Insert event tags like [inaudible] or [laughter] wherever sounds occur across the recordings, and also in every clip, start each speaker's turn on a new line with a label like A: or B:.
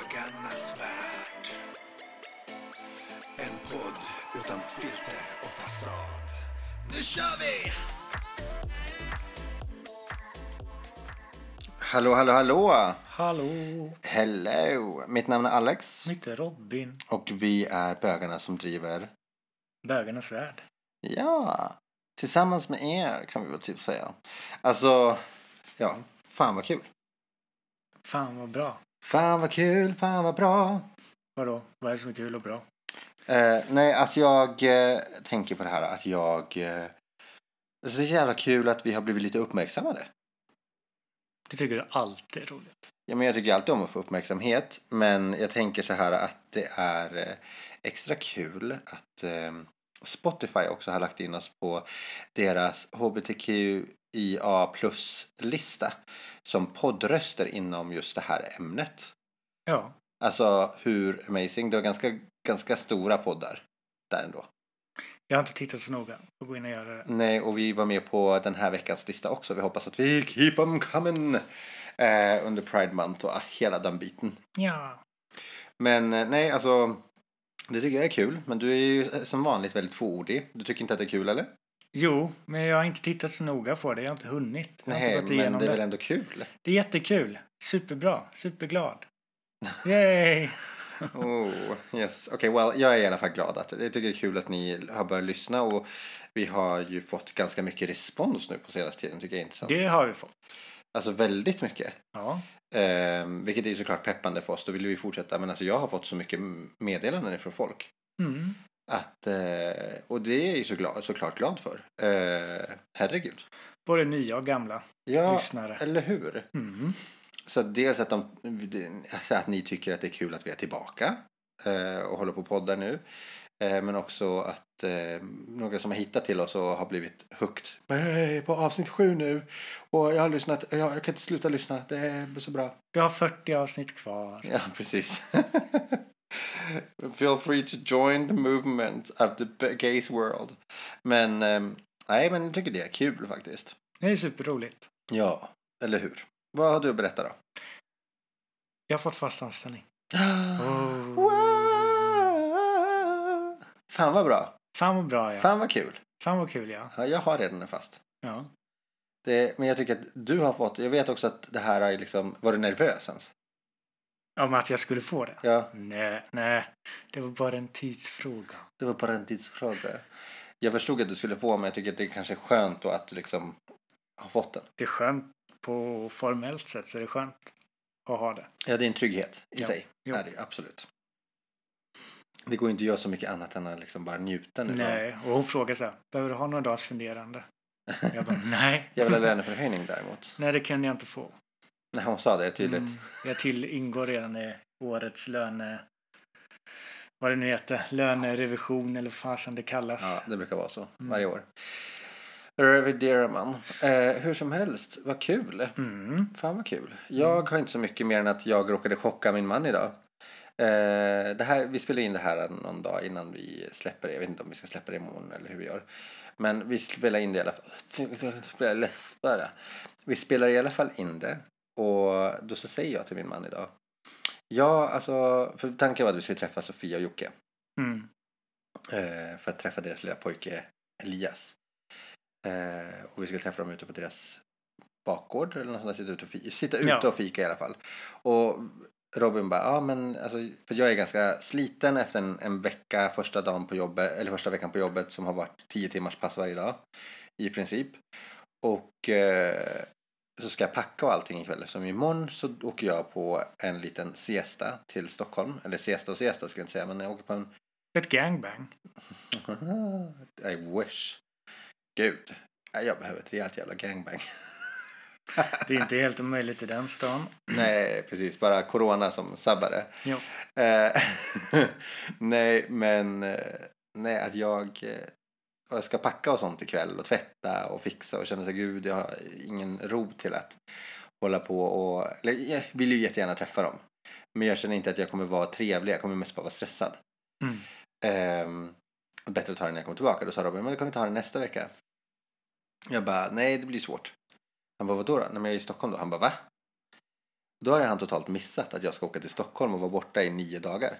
A: Jonas värld. En podd utan filter och fasad. Nu kör vi!
B: Hallå, hallå, hallå!
C: Hallå!
B: Hello! Mitt namn är Alex
C: Mitt är Robin.
B: och vi är bögarna som driver.
C: Bögarnas värld.
B: Ja, tillsammans med er kan vi väl typ säga. Alltså, ja, fan vad kul.
C: Fan vad bra.
B: Fan vad kul, fan vad bra.
C: Vadå? Vad är det som är kul och bra?
B: Eh, nej, alltså jag eh, tänker på det här att jag... Eh, det är så jävla kul att vi har blivit lite uppmärksammade.
C: Det tycker du alltid är roligt.
B: Ja, men jag tycker alltid om att få uppmärksamhet, men jag tänker så här att det är eh, extra kul att eh, Spotify också har lagt in oss på deras hbtqia plus-lista som poddröster inom just det här ämnet.
C: Ja.
B: Alltså hur amazing, det var ganska, ganska stora poddar där ändå.
C: Jag har inte tittat så noga. Får gå in och göra det.
B: Nej, och vi var med på den här veckans lista också. Vi hoppas att vi keep 'em coming eh, under Pride Month och hela den biten.
C: Ja.
B: Men eh, nej, alltså. Det tycker jag är kul, men du är ju eh, som vanligt väldigt tvåordig. Du tycker inte att det är kul, eller?
C: Jo, men jag har inte tittat så noga på det. Jag har inte hunnit. Jag har
B: Nej,
C: inte gått
B: men
C: igenom
B: det är
C: det.
B: väl ändå kul?
C: Det är jättekul. Superbra. Superglad.
B: [laughs]
C: Yay!
B: Oh, yes. Okej, well, jag är i alla fall glad att jag tycker det är kul att ni har börjat lyssna och vi har ju fått ganska mycket respons nu på senaste tiden, tycker jag är intressant.
C: Det har vi fått.
B: Alltså väldigt mycket.
C: Ja.
B: Ehm, vilket är ju såklart peppande för oss, då vill vi fortsätta. Men alltså jag har fått så mycket meddelanden från folk.
C: Mm.
B: Att, eh, och det är jag ju såklart, såklart glad för. Eh, herregud.
C: Både nya och gamla
B: Ja,
C: lyssnare.
B: eller hur?
C: Mm.
B: Så dels att, de, alltså att ni tycker att det är kul att vi är tillbaka eh, och håller på och poddar nu. Eh, men också att eh, några som har hittat till oss och har blivit hooked. Hej, på avsnitt sju nu. Och jag har lyssnat. Jag, jag kan inte sluta lyssna. Det är så bra.
C: Vi har 40 avsnitt kvar.
B: Ja, precis. [laughs] Feel free to join the movement of the gays world. Men, ehm, nej, men jag tycker det är kul faktiskt.
C: Det är superroligt.
B: Ja, eller hur? Vad har du att berätta då? [gasps]
C: Jag har fått fast anställning. Oh.
B: Wow. Fan vad bra.
C: Fan vad bra jag
B: Fan vad kul.
C: Fan vad kul ja.
B: Ja, jag har redan en fast.
C: ja.
B: Det, men jag tycker att du har fått, jag vet också att det här är liksom, var du nervös ens?
C: Om att jag skulle få det?
B: Ja,
C: Nej, nej. Det var bara en tidsfråga.
B: det var bara en tidsfråga. Jag förstod att du skulle få, men jag tycker att det är kanske är skönt då att du liksom har fått den.
C: Det är skönt på formellt sätt så är det skönt att ha det.
B: Ja, det är en trygghet i
C: Ja.
B: sig.
C: Jo.
B: Är det, ju, absolut. Det går ju inte att göra så mycket annat än att liksom bara njuta nu.
C: Nej, och hon frågade så här, behöver du ha några dagars funderande? Jag
B: [laughs]
C: bara, nej.
B: Jag vill ha löneförhöjning däremot.
C: nej, det kan jag inte få.
B: Nej, hon sa det tydligt.
C: Mm, jag till ingår redan i årets löne... Vad det nu heter, lönerevision eller fasen det kallas.
B: Ja, det brukar vara så
C: Mm.
B: varje år. Reviderar man. Eh, hur som helst, vad kul.
C: Mm.
B: Fan vad kul. Jag har inte så mycket mer än att jag råkade chocka min man idag. Eh, det här, vi spelar in det här någon dag innan vi släpper det. Jag vet inte om vi ska släppa det imorgon eller hur vi gör. Men vi spelar in det i alla [laughs] fall. Vi spelar i alla fall in det. Och då så säger jag till min man idag. Ja, alltså, för tanken var att vi skulle träffa Sofia och Jocke.
C: Mm.
B: Eh, för att träffa deras lilla pojke Elias. Eh, och vi skulle träffa dem ute på deras bakgård eller något sånt där, sitta ute och fika, sitta ute
C: Ja.
B: och fika i alla fall. Och Robin bara, ja men alltså, för jag är ganska sliten efter en, en vecka, första dagen på jobbet, eller första veckan på jobbet som har varit tio timmars pass varje dag i princip. Och eh, så ska jag packa och allting ikväll eftersom imorgon så åker jag på en liten siesta till Stockholm. Eller siesta och siesta ska jag inte säga, men jag åker på en
C: Ett gangbang.
B: Ah, i wish. Gud, nej, jag behöver ett rejält jävla gangbang. [laughs]
C: Det är inte helt omöjligt i den stan.
B: [laughs] Nej, precis. Bara corona som sabbade.
C: Jo.
B: Eh, [laughs] nej, men eh, nej, att jag, eh, och jag ska packa och sånt ikväll och tvätta och fixa och känner så här, gud, jag har ingen ro till att hålla på och eller, jag vill ju jättegärna träffa dem. Men jag känner inte att jag kommer vara trevlig, jag kommer mest bara vara stressad.
C: Mm.
B: Ehm, bättre att ta det när jag kommer tillbaka. Då sa Robin, men då kan vi ta det nästa vecka. Jag bara, nej det blir svårt. Han bara, vadå då? Nej men jag är i Stockholm då. Han bara, va? Då har ju han totalt missat att jag ska åka till Stockholm och vara borta i nio dagar.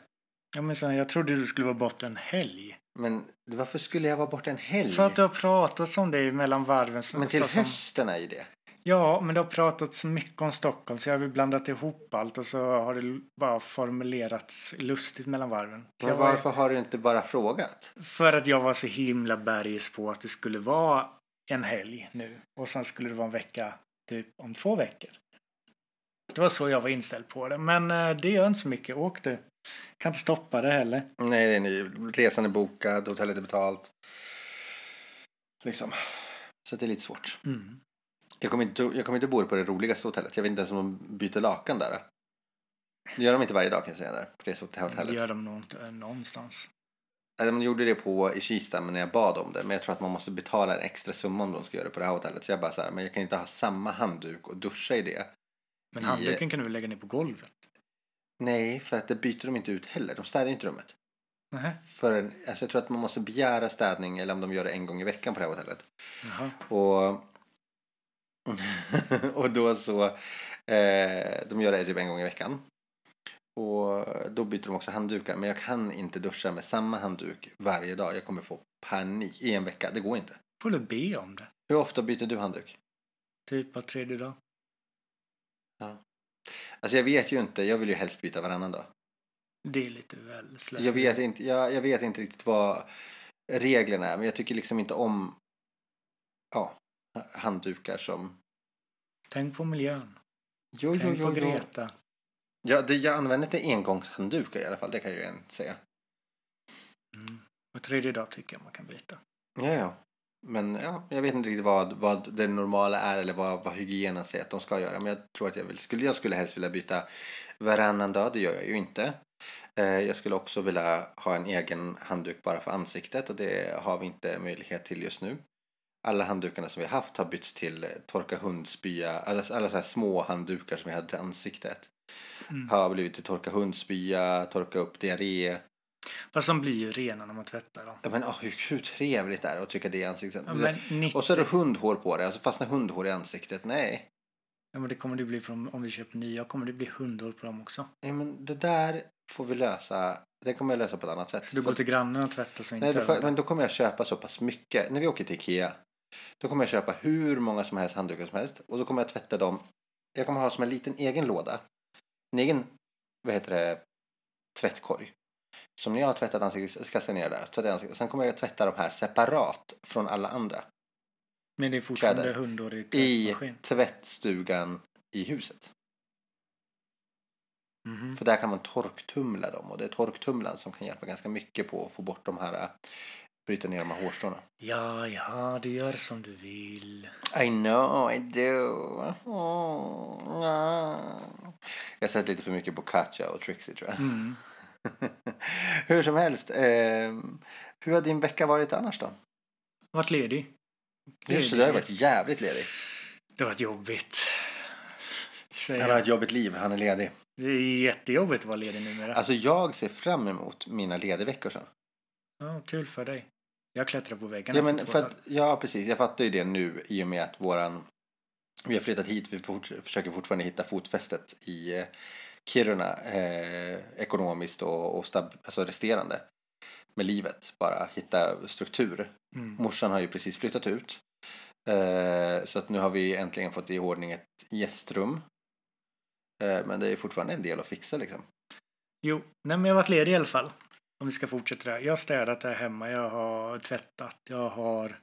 C: Ja, men sen, jag trodde du skulle vara borta en helg.
B: Men varför skulle jag vara borta en helg?
C: För att det har pratats om dig mellan varven. så-
B: Men till
C: så som-
B: hösten är ju det.
C: Ja, men det har pratats mycket om Stockholm så jag har väl blandat ihop allt och så har det bara formulerats lustigt mellan varven. Så
B: Men
C: jag var,
B: varför har du inte bara frågat?
C: för att jag var så himla bergis på att det skulle vara en helg nu och sen skulle det vara en vecka typ om två veckor. Det var så jag var inställd på det, men eh, det gör inte så mycket. Åk du. Kan inte stoppa det heller.
B: Nej, det är ny. Resan är bokad, hotellet är betalt. Liksom. Så det är lite svårt.
C: Mm.
B: Jag kommer inte, jag kommer inte bo på det roligaste hotellet. Jag vet inte ens om de byter lakan där. Det gör de inte varje dag kan jag säga där. På
C: Mm, Det
B: resehotellet.
C: gör de nog inte eh, någonstans.
B: Alltså, de gjorde det på i Kista men när jag bad om det. Men jag tror att man måste betala en extra summa om de ska göra det på det här hotellet. Så jag bara så här, men jag kan inte ha samma handduk och duscha i det.
C: Men
B: I-
C: handduken kan du väl lägga ner på golvet?
B: Nej, för att det byter de inte ut heller. De städar ju inte rummet.
C: Nähä.
B: Förrän, alltså jag tror att man måste begära städning eller om de gör det en gång i veckan på det här hotellet.
C: Jaha.
B: Och, [laughs] och då så, eh, de gör det typ en gång i veckan. Och då byter de också handdukar. Men jag kan inte duscha med samma handduk varje dag. Jag kommer få panik i en vecka. Det går inte.
C: får du be om det.
B: Hur ofta byter du handduk?
C: Typ var tredje dag.
B: Alltså jag vet ju inte. Jag vill ju helst byta varannan dag.
C: Det är lite väl slöseri.
B: Jag vet inte, jag, jag vet inte riktigt vad reglerna är. Men jag tycker liksom inte om ja, handdukar som...
C: Tänk på miljön.
B: Jo, jo,
C: Tänk
B: jo,
C: på
B: jo.
C: Greta.
B: Ja, det, jag använder inte engångshanddukar i alla fall. Det kan jag ju en säga.
C: Mm. Var tredje dag tycker jag man kan byta.
B: Ja, ja. Men ja, jag vet inte riktigt vad, vad det normala är eller vad, vad hygienen säger att de ska göra. Men jag tror att jag, vill, skulle, jag skulle helst vilja byta varannan dag, det gör jag ju inte. Eh, jag skulle också vilja ha en egen handduk bara för ansiktet och det har vi inte möjlighet till just nu. Alla handdukarna som vi har haft har bytts till eh, torka hundspya, alla, alla så här små handdukar som vi hade till ansiktet.
C: Mm.
B: Har blivit till torka hundspya, torka upp diarré.
C: Fast de blir ju rena när man tvättar dem.
B: Ja, men oh, hur, hur trevligt det är att trycka det i ansiktet.
C: Ja, men 90,
B: Och så är det hundhår på dig, alltså fastnar hundhår i ansiktiktet. Nej.
C: ja, men det kommer det bli från, om vi köper nya kommer det bli hundår på dem också.
B: Nej, men det där får vi lösa. Det kommer jag lösa på ett annat sätt.
C: Så du
B: För
C: går
B: att-
C: till grannen och tvättar så inte
B: Nej, då får,
C: över.
B: men då kommer jag köpa så pass mycket. När vi åker till Ikea, då kommer jag köpa hur många som helst handdukar som helst. Och då kommer jag tvätta dem. Jag kommer ha som en liten egen låda. En egen, vad heter det, tvättkorg. Som när jag har tvättat ansiktet, så kastar jag ner det där. Så tvättar jag ansiktet. Sen kommer jag tvätta de här separat från alla andra.
C: Men det är fortfarande
B: kläder.
C: hundår i
B: I
C: tvättmaskin.
B: tvättstugan i huset.
C: Mhm.
B: För där kan man torktumla dem och det är torktumlan som kan hjälpa ganska mycket på att få bort de här, äh, bryta ner de här hårstråna.
C: Ja, ja, du gör som du vill.
B: I know, I do. Oh, ah. Jag har sett lite för mycket på Katja och Trixie tror jag. [laughs]
C: Mm.
B: hur som helst, eh, hur har din vecka varit annars då?
C: Vart ledig.
B: Just det, du har ju varit jävligt ledig.
C: Det har varit jobbigt. Säger
B: Han har
C: jag.
B: ett jobbigt liv, han är ledig.
C: Det är jättejobbigt att vara ledig numera.
B: Alltså jag ser fram emot mina ledigveckor sen.
C: Ja, kul för dig. Jag klättrar på väggen.
B: Ja,
C: efter
B: men
C: två
B: för
C: dagar.
B: att, ja, precis. Jag fattar ju det nu i och med att våran... Vi har flyttat hit. Vi fort, försöker fortfarande hitta fotfästet i eh, Kiruna. Eh, ekonomiskt och, och stab, alltså resterande. Med livet. Bara hitta struktur.
C: Mm.
B: Morsan har ju precis flyttat ut. Eh, så att nu har vi äntligen fått i ordning ett gästrum. Eh, men det är fortfarande en del att fixa liksom.
C: Jo, nej, men jag har varit ledig i alla fall. Om vi ska fortsätta det här. Jag har städat här hemma, jag har tvättat, jag har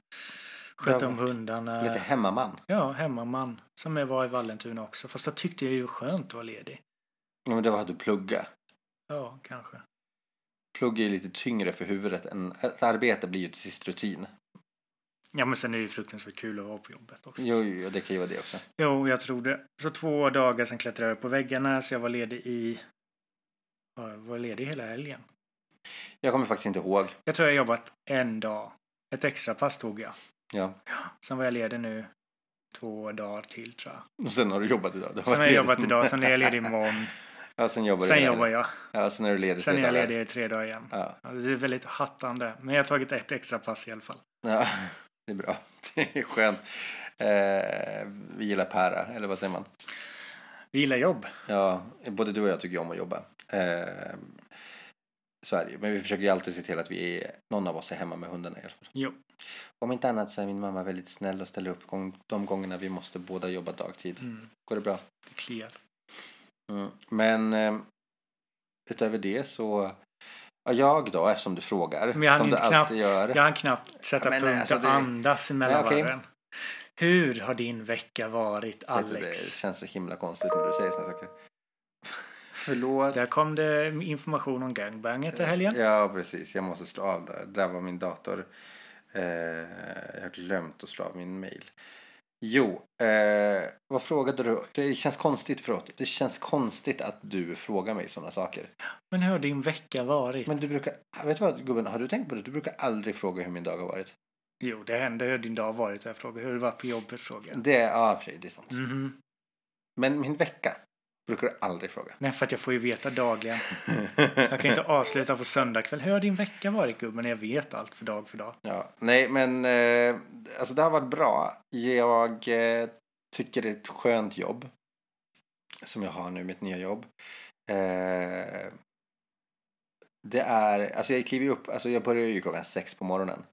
C: skött
B: Du har
C: om hundarna.
B: Lite hemmaman.
C: Ja, hemmaman. Som jag var i Vallentuna också. Fast jag tyckte jag ju skönt att vara ledig.
B: Ja, men det var att du plugga.
C: Ja, kanske.
B: Plugg är ju lite tyngre för huvudet. Än, ett arbete blir ju till sist rutin.
C: Ja, men sen är det ju fruktansvärt kul att vara på jobbet också.
B: Jo, jo, jo, det kan ju vara det också.
C: Jo, jag tror det. Så två dagar sen klättrade jag på väggarna, så jag var ledig i... Ja, jag var ledig hela helgen.
B: Jag kommer faktiskt inte ihåg.
C: Jag tror jag har jobbat en dag. Ett extra pass tog jag.
B: Ja.
C: Sen var jag ledig nu två dagar till tror jag.
B: Och sen har du jobbat idag. Du
C: Sen har jag
B: varit
C: jobbat
B: ledig.
C: idag, sen är jag ledig
B: [laughs]
C: imorgon.
B: Ja, sen jobbar
C: Sen
B: du.
C: jobbar jag.
B: Ja, sen är du ledig.
C: Sen är
B: tre
C: jag
B: dagar.
C: ledig i tre dagar igen.
B: Ja.
C: Ja, Det är väldigt hattande. Men jag har tagit ett extra pass i alla fall.
B: ja, [laughs] det är bra. Det är skönt. Eh, vi gillar Pära, eller vad säger man?
C: Vi gillar jobb.
B: Ja, både du och jag tycker ju om att jobba. Eh, så är det ju. Men vi försöker ju alltid se till att vi är, någon av oss är hemma med hundarna i alla fall.
C: Jo.
B: Om inte annat så är min mamma väldigt snäll och ställer upp gång, de gångerna vi måste båda jobba dagtid.
C: Mm.
B: Går det bra?
C: Det kliar.
B: Mm. Men eh, utöver det så... Ja, jag då, eftersom du frågar.
C: Men jag hann
B: som du
C: inte
B: alltid
C: knappt-
B: gör.
C: Jag hann knappt sätta
B: Ja, men,
C: punkt
B: alltså,
C: och
B: det-
C: andas emellan
B: Nej, okej.
C: varven. Hur har din vecka varit,
B: Vet du, det
C: Alex?
B: känns så himla konstigt när du säger såna saker. [laughs] Förlåt.
C: Där kom det information om gangbanget i helgen.
B: Ja, precis. Jag måste slå av där. Där var min dator. Eh, jag har glömt att slå av min mail. Jo, eh, vad frågade du? Det känns konstigt, förlåt. Det känns konstigt att du frågar mig sådana saker.
C: Men hur har din vecka varit?
B: Men du brukar, vet du vad gubben, har du tänkt på det? Du brukar aldrig fråga hur min dag har varit.
C: Jo, det hände. Hur har din dag har varit? Jag frågar. Hur har det varit på jobbet? Frågar. jag.
B: Det, ja, i och för sig, det är sant.
C: Mhm.
B: Men min vecka brukar du aldrig fråga.
C: Nej, för att jag får ju veta dagligen. Jag [laughs] kan inte avsluta på söndag kväll. Hur har din vecka varit gubben? Jag vet allt för dag för dag.
B: [laughs] Ja, nej men eh, alltså det har varit bra. Jag eh, tycker det är ett skönt jobb som jag har nu, mitt nya jobb. Eh, det är, alltså jag kliver ju upp, alltså jag börjar ju klockan sex på morgonen.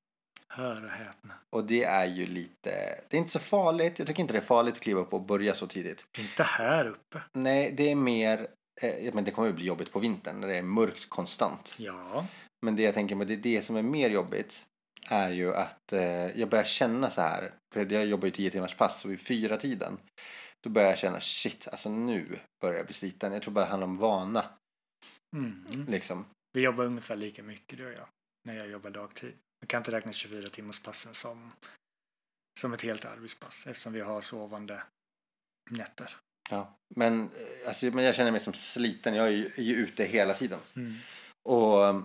C: Hör och häpna.
B: Och det är ju lite, det är inte så farligt. Jag tycker inte det är farligt att kliva upp och börja så tidigt.
C: Inte här uppe.
B: Nej, det är mer, eh, ja, men det kommer ju bli jobbigt på vintern när det är mörkt konstant.
C: Ja.
B: Men det jag tänker på, det är det som är mer jobbigt är ju att eh, jag börjar känna så här, för jag jobbar ju tio timmars pass och vid fyra tiden då börjar jag känna shit, alltså nu börjar jag bli sliten. Jag tror bara det handlar om vana
C: Mhm.
B: liksom.
C: Vi jobbar ungefär lika mycket du och jag. När jag jobbar dagtid. Jag kan inte räkna 24 timmars passen som, som ett helt arbetspass. Eftersom vi har sovande nätter.
B: Ja. Men, eh, alltså, men jag känner mig som sliten, jag är ju, är ju ute hela tiden.
C: Mm.
B: Och eh,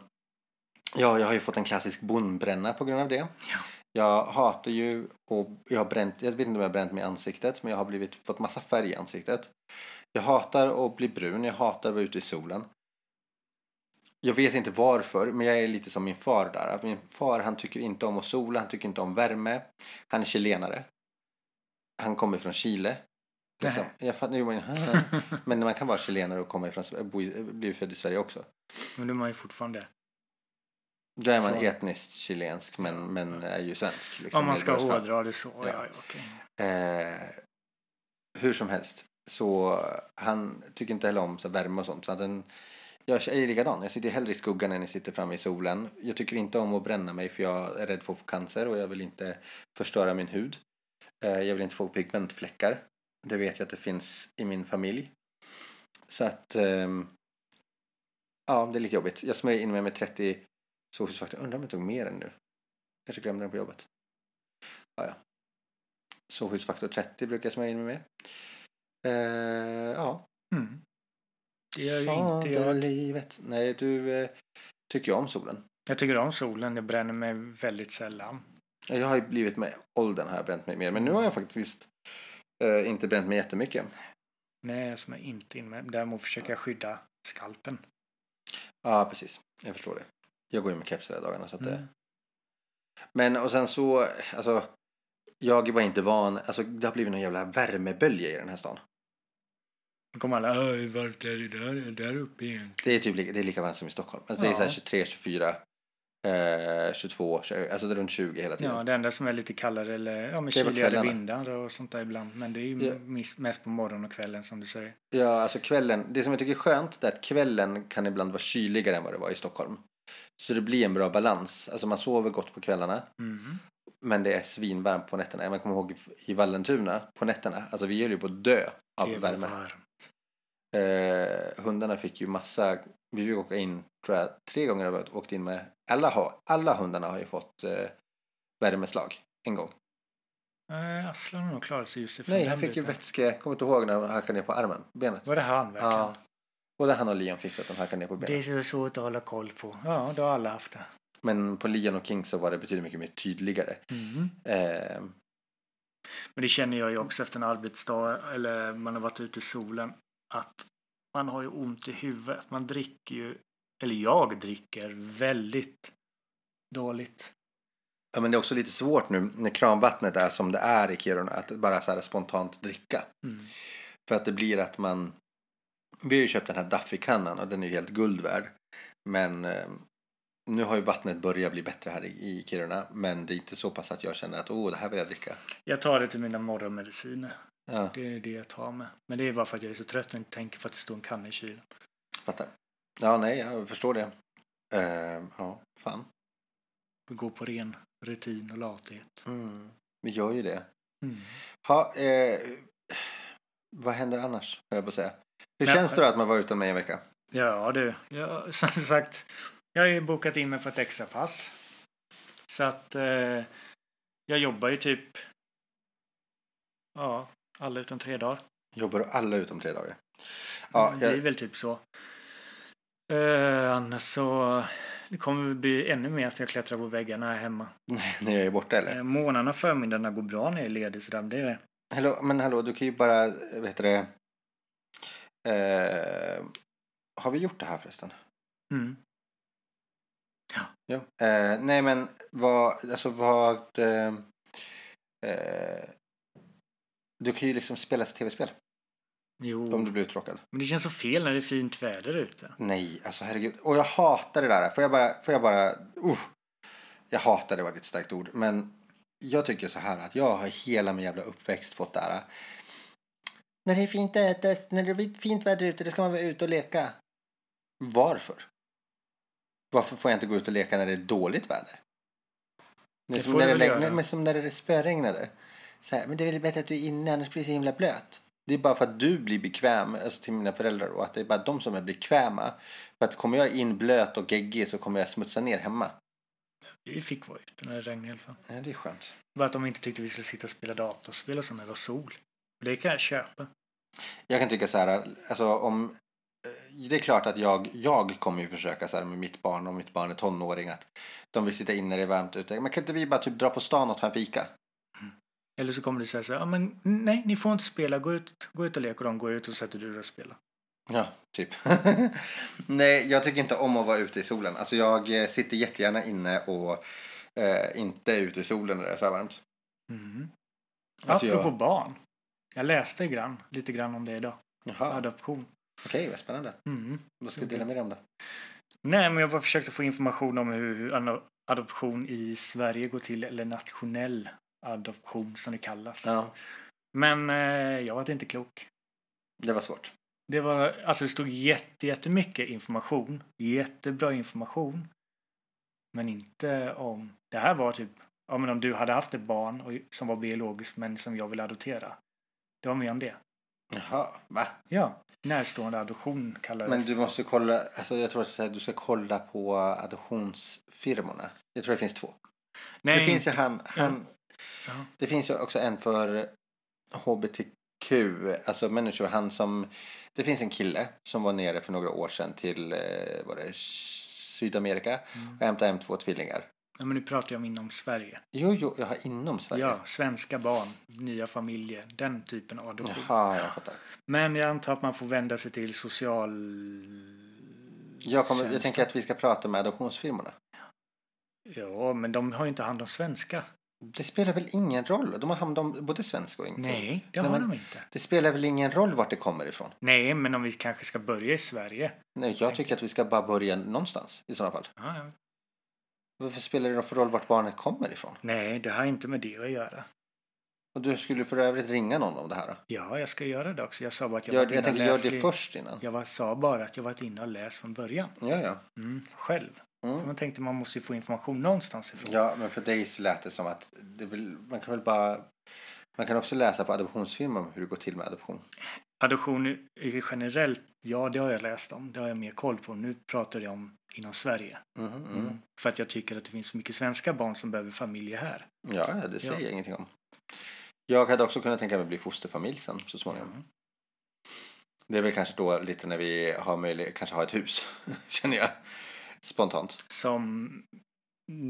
B: ja, jag har ju fått en klassisk bondbränna på grund av det.
C: Ja.
B: Jag hatar ju och jag har bränt, jag vet inte om jag har bränt mig i ansiktet men jag har blivit, fått massa färg i ansiktet. Jag hatar att bli brun, jag hatar att vara ute i solen. Jag vet inte varför men jag är lite som min far där. Att min far han tycker inte om att sola, han tycker inte om värme. Han är chilenare. Han kommer från Chile. Liksom.
C: Nähä.
B: Jag fattar, jo, men, [laughs] men man kan vara chilenare och komma ifrån, Sve- bo i- bli född i Sverige också.
C: [laughs] Men då är man ju fortfarande...
B: Då är man
C: Från-
B: etniskt chilensk men, men är ju svensk. liksom,
C: Om man ska
B: medborgarskap.
C: hårdra det så. Ja.
B: Ja.
C: Ja, okej.
B: Eh, hur som helst, så han tycker inte heller om så här värme och sånt. Så att den, jag är likadan, jag sitter hellre i skuggan än jag sitter framme i solen. Jag tycker inte om att bränna mig för jag är rädd för att få cancer och jag vill inte förstöra min hud. Eh, jag vill inte få pigmentfläckar. Det vet jag att det finns i min familj. Så att, ehm, ja det är lite jobbigt. Jag smörjer in mig med 30 solskyddsfaktor. Undrar om jag tog mer än nu. Kanske glömde den på jobbet. Ja, ja. Solskyddsfaktor 30 brukar jag smörja in mig med. Eh, ja.
C: Mm. Det gör ju
B: Sånt
C: inte jag.
B: är livet. Nej, du eh, tycker ju om solen.
C: Jag tycker om solen, jag bränner mig väldigt sällan.
B: Ja, Jag har ju blivit med åldern har jag bränt mig mer. Men nu har jag faktiskt eh, inte bränt mig jättemycket.
C: Nej, som är inte inne. Däremot försöker jag skydda skalpen.
B: Ja, precis. Jag förstår det. Jag går ju med keps hela dagarna. Så att,
C: Mm.
B: det- Men och sen så, alltså. Jag var inte van. Alltså det har blivit någon jävla värmebölja i den här stan.
C: Då kommer alla, "Åh, hur varmt är det där, där uppe egentligen?
B: Det är typ lika, det är lika varmt som i Stockholm. Alltså, Det är
C: Ja.
B: så här 23, 24, eh, 22, 20, alltså det är runt 20 hela tiden.
C: Ja, det enda som är lite kallare eller ja, men
B: Det är på
C: kyligare
B: kvällarna.
C: vindar och sånt där ibland. Men det är ju
B: Ja.
C: mis- mest på morgonen och kvällen som du säger.
B: Ja, alltså kvällen. Det som jag tycker är skönt det är att kvällen kan ibland vara kyligare än vad det var i Stockholm. Så det blir en bra balans. Alltså man sover gott på kvällarna
C: Mm.
B: men det är svinvarmt på nätterna. Jag kommer ihåg i Vallentuna på nätterna. Alltså vi höll ju på att dö av
C: det är
B: värme.
C: varmt.
B: Eh, hundarna fick ju massa, vi fick åka in tror jag tre gånger har vi åkt in med. Alla, har, alla hundarna har ju fått eh, värmeslag en gång.
C: Nej, Aslan har nog klarat sig just ifrån
B: Nej, han
C: den
B: fick ju
C: biten.
B: vätske, kommer inte ihåg när han halkade ner på armen, benet.
C: Var det han verkligen?
B: Ja. Både han och Leon fick så att han halkade ner på benet.
C: Det är så svårt att hålla koll på. Ja, då har alla haft det.
B: Men på Leon och King så var det betydligt mycket mer tydligare.
C: Mm.
B: Eh,
C: Men det känner jag ju också efter en arbetsdag eller man har varit ute i solen att man har ju ont i huvudet. Man dricker ju, eller jag dricker väldigt dåligt.
B: ja, men det är också lite svårt nu när kranvattnet är som det är i Kiruna att bara så här spontant dricka.
C: Mm.
B: För att det blir att man... Vi har ju köpt den här Duffy-kannan och den är ju helt guld värd. Men eh, nu har ju vattnet börjat bli bättre här i, i Kiruna. Men det är inte så pass att jag känner att åh, det här vill jag dricka.
C: Jag tar det till mina morgonmediciner.
B: Ja,
C: Det är det jag tar med. Men det är bara för att jag är så trött och inte tänker på att det står en kanna i kylen.
B: fattar. Ja, nej, jag förstår det. Eh, ja, fan.
C: Vi går på ren rutin och lathet.
B: Mm. Vi gör ju det.
C: Mm.
B: Ha, eh, vad händer annars, höll jag på att säga. Hur
C: Nej. eh,
B: känns det då att man var utan mig en vecka?
C: Ja [laughs] du, jag, som sagt. Jag har ju bokat in mig på ett extra pass. Så att eh, jag jobbar ju typ ja, alla utom tre dagar.
B: Jobbar du alla utom tre dagar? Ja,
C: det är
B: jag,
C: väl typ så. Eh, annars så det kommer väl bli ännu mer att jag klättrar på väggarna här hemma.
B: när jag [laughs] är borta eller?
C: Eh, morgnarna och förmiddagarna går bra när jag är ledig så där, det är det.
B: Hallå, men hallå, du kan ju bara, eh, vad heter det? Eh, har vi gjort det här förresten?
C: Mm.
B: Ja. Eh, nej, men vad, alltså vad... Eh, eh, du kan ju liksom spela ett tv-spel om
C: Jo,
B: du blir uttråkad.
C: men det känns så fel när det är fint väder ute.
B: Nej, alltså herregud. Och jag hatar det där. Får jag bara... Får jag, bara uh, jag hatar det var ett starkt ord. Men jag tycker så här att jag har hela min jävla uppväxt fått det här. När det är fint, äta, när det blir fint väder ute, då ska man vara ute och leka. Varför? Varför får jag inte gå ut och leka när det är dåligt väder? Det är
C: Det
B: som
C: får
B: när
C: du
B: det,
C: väl
B: regn-
C: göra.
B: men som när det spöregnade. Så här, men det är väl bättre att du är inne, annars blir det så himla blöt. Det är bara för att du blir bekväm alltså till mina föräldrar och att det är bara de som är bekväma. För att kommer jag in blöt och geggig så kommer jag smutsa ner hemma.
C: Vi fick vara ute när det regnade i alla fall.
B: Ja, det är skönt.
C: Bara att de inte tyckte vi skulle sitta och spela datorspel och sånt när det var sol. Och Det kan jag köpa.
B: Jag kan tycka så här, alltså om... eh, Det är klart att jag, jag kommer ju försöka så här med mitt barn, om mitt barn är tonåring, att de vill sitta inne när det är varmt ute. Men kan inte vi bara typ dra på stan och ta en fika?
C: Eller så kommer det säga så här, "Ja, men nej, ni får inte spela, gå ut, gå ut och lek och de går ut och sätter du dig och spelar.
B: Ja, typ. [laughs] Nej, jag tycker inte om att vara ute i solen. Alltså jag eh, sitter jättegärna inne och eh, inte ute i solen när det är så här varmt.
C: Mm.
B: Alltså,
C: Apropå
B: jag-
C: barn. Jag läste grann, lite grann om det idag.
B: Jaha,
C: Adoption.
B: okej, vad spännande.
C: Mm.
B: Vad ska jag dela med dig om då?
C: Nej, men jag bara försökte få information om hur, hur ano- adoption i Sverige går till, eller nationell adoption som det kallas.
B: Ja,
C: Men eh, jag var inte klok.
B: det var svårt.
C: Det var, alltså det stod jätte, jättemycket information. Jättebra information. Men inte om... Det här var typ... Ja, men om du hade haft ett barn och, som var biologiskt men som jag ville adoptera. Det var mer om det.
B: Jaha, va?
C: Ja, närstående adoption kallades
B: Men du måste kolla, alltså jag tror att så här, du ska kolla på adoptionsfirmorna. Jag tror det finns två.
C: Nej,
B: Det finns ju han, han
C: Ja.
B: det finns ju också en för hbtq, alltså människor, han som, det finns en kille som var nere för några år sedan till, eh, var det Sydamerika
C: Mm.
B: och hämtade hem två tvillingar.
C: Ja, men nu pratar jag om inom Sverige.
B: Jo, jo, jag har inom Sverige.
C: Ja, svenska barn, nya familjer, den typen av adoption.
B: Jaha, jag fattar.
C: Men jag antar att man får vända sig till social...
B: Jag, kommer, jag
C: Känns
B: tänker att vi ska prata med adoptionsfirmorna.
C: Ja, men de har ju inte hand om svenska.
B: Det spelar väl ingen roll? De har hand om både svensk och engelska.
C: Nej, det
B: Nej,
C: har
B: men-
C: de inte.
B: Det spelar väl ingen roll vart det kommer ifrån?
C: Nej, men om vi kanske ska börja i Sverige.
B: Nej, jag tycker att vi ska bara börja någonstans i sådana fall.
C: Ja, ja.
B: Varför spelar det någon för roll vart barnet kommer ifrån?
C: Nej, det har inte med det att göra.
B: Och du skulle för övrigt ringa någon om det här? Då?
C: Ja, jag ska göra det också. Jag sa bara att jag,
B: Gör,
C: varit inne
B: jag
C: och
B: tänker, gör
C: läst
B: det
C: li-
B: först innan.
C: Jag var, sa bara att jag varit inne och läst från början.
B: Ja, ja.
C: Mm, själv.
B: Mm.
C: Man tänkte man måste ju få information någonstans ifrån.
B: Ja, men för dig så lät det som att det vill, man kan väl bara... Man kan också läsa på adoptionsfilmer om hur det går till med adoption.
C: Adoption är ju generellt, ja det har jag läst om. Det har jag mer koll på. Nu pratar jag om inom Sverige.
B: Mhm, mm.
C: För att jag tycker att det finns så mycket svenska barn som behöver familjer här.
B: Ja, ja, det säger jag ingenting om. Jag hade också kunnat tänka mig att bli fosterfamilj sen så småningom. Det är väl kanske då lite när vi har möjlighet, kanske har ett hus, [laughs] känner jag. Spontant.
C: Som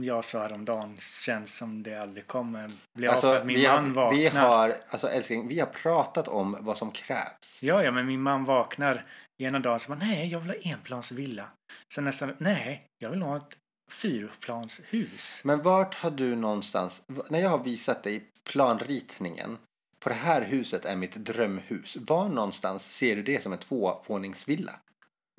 C: jag sa häromdagen känns som det aldrig kommer bli av för
B: Alltså,
C: att min
B: vi
C: man
B: har,
C: vaknar.
B: vi har, alltså älskling, vi har pratat om vad som krävs.
C: Ja, ja, men min man vaknar ena dagen så bara nej, jag vill ha enplansvilla. Sen nästa nej, jag vill ha ett fyrplanshus.
B: Men vart har du någonstans, när jag har visat dig planritningen På det här huset är mitt drömhus. Var någonstans ser du det som en tvåvåningsvilla?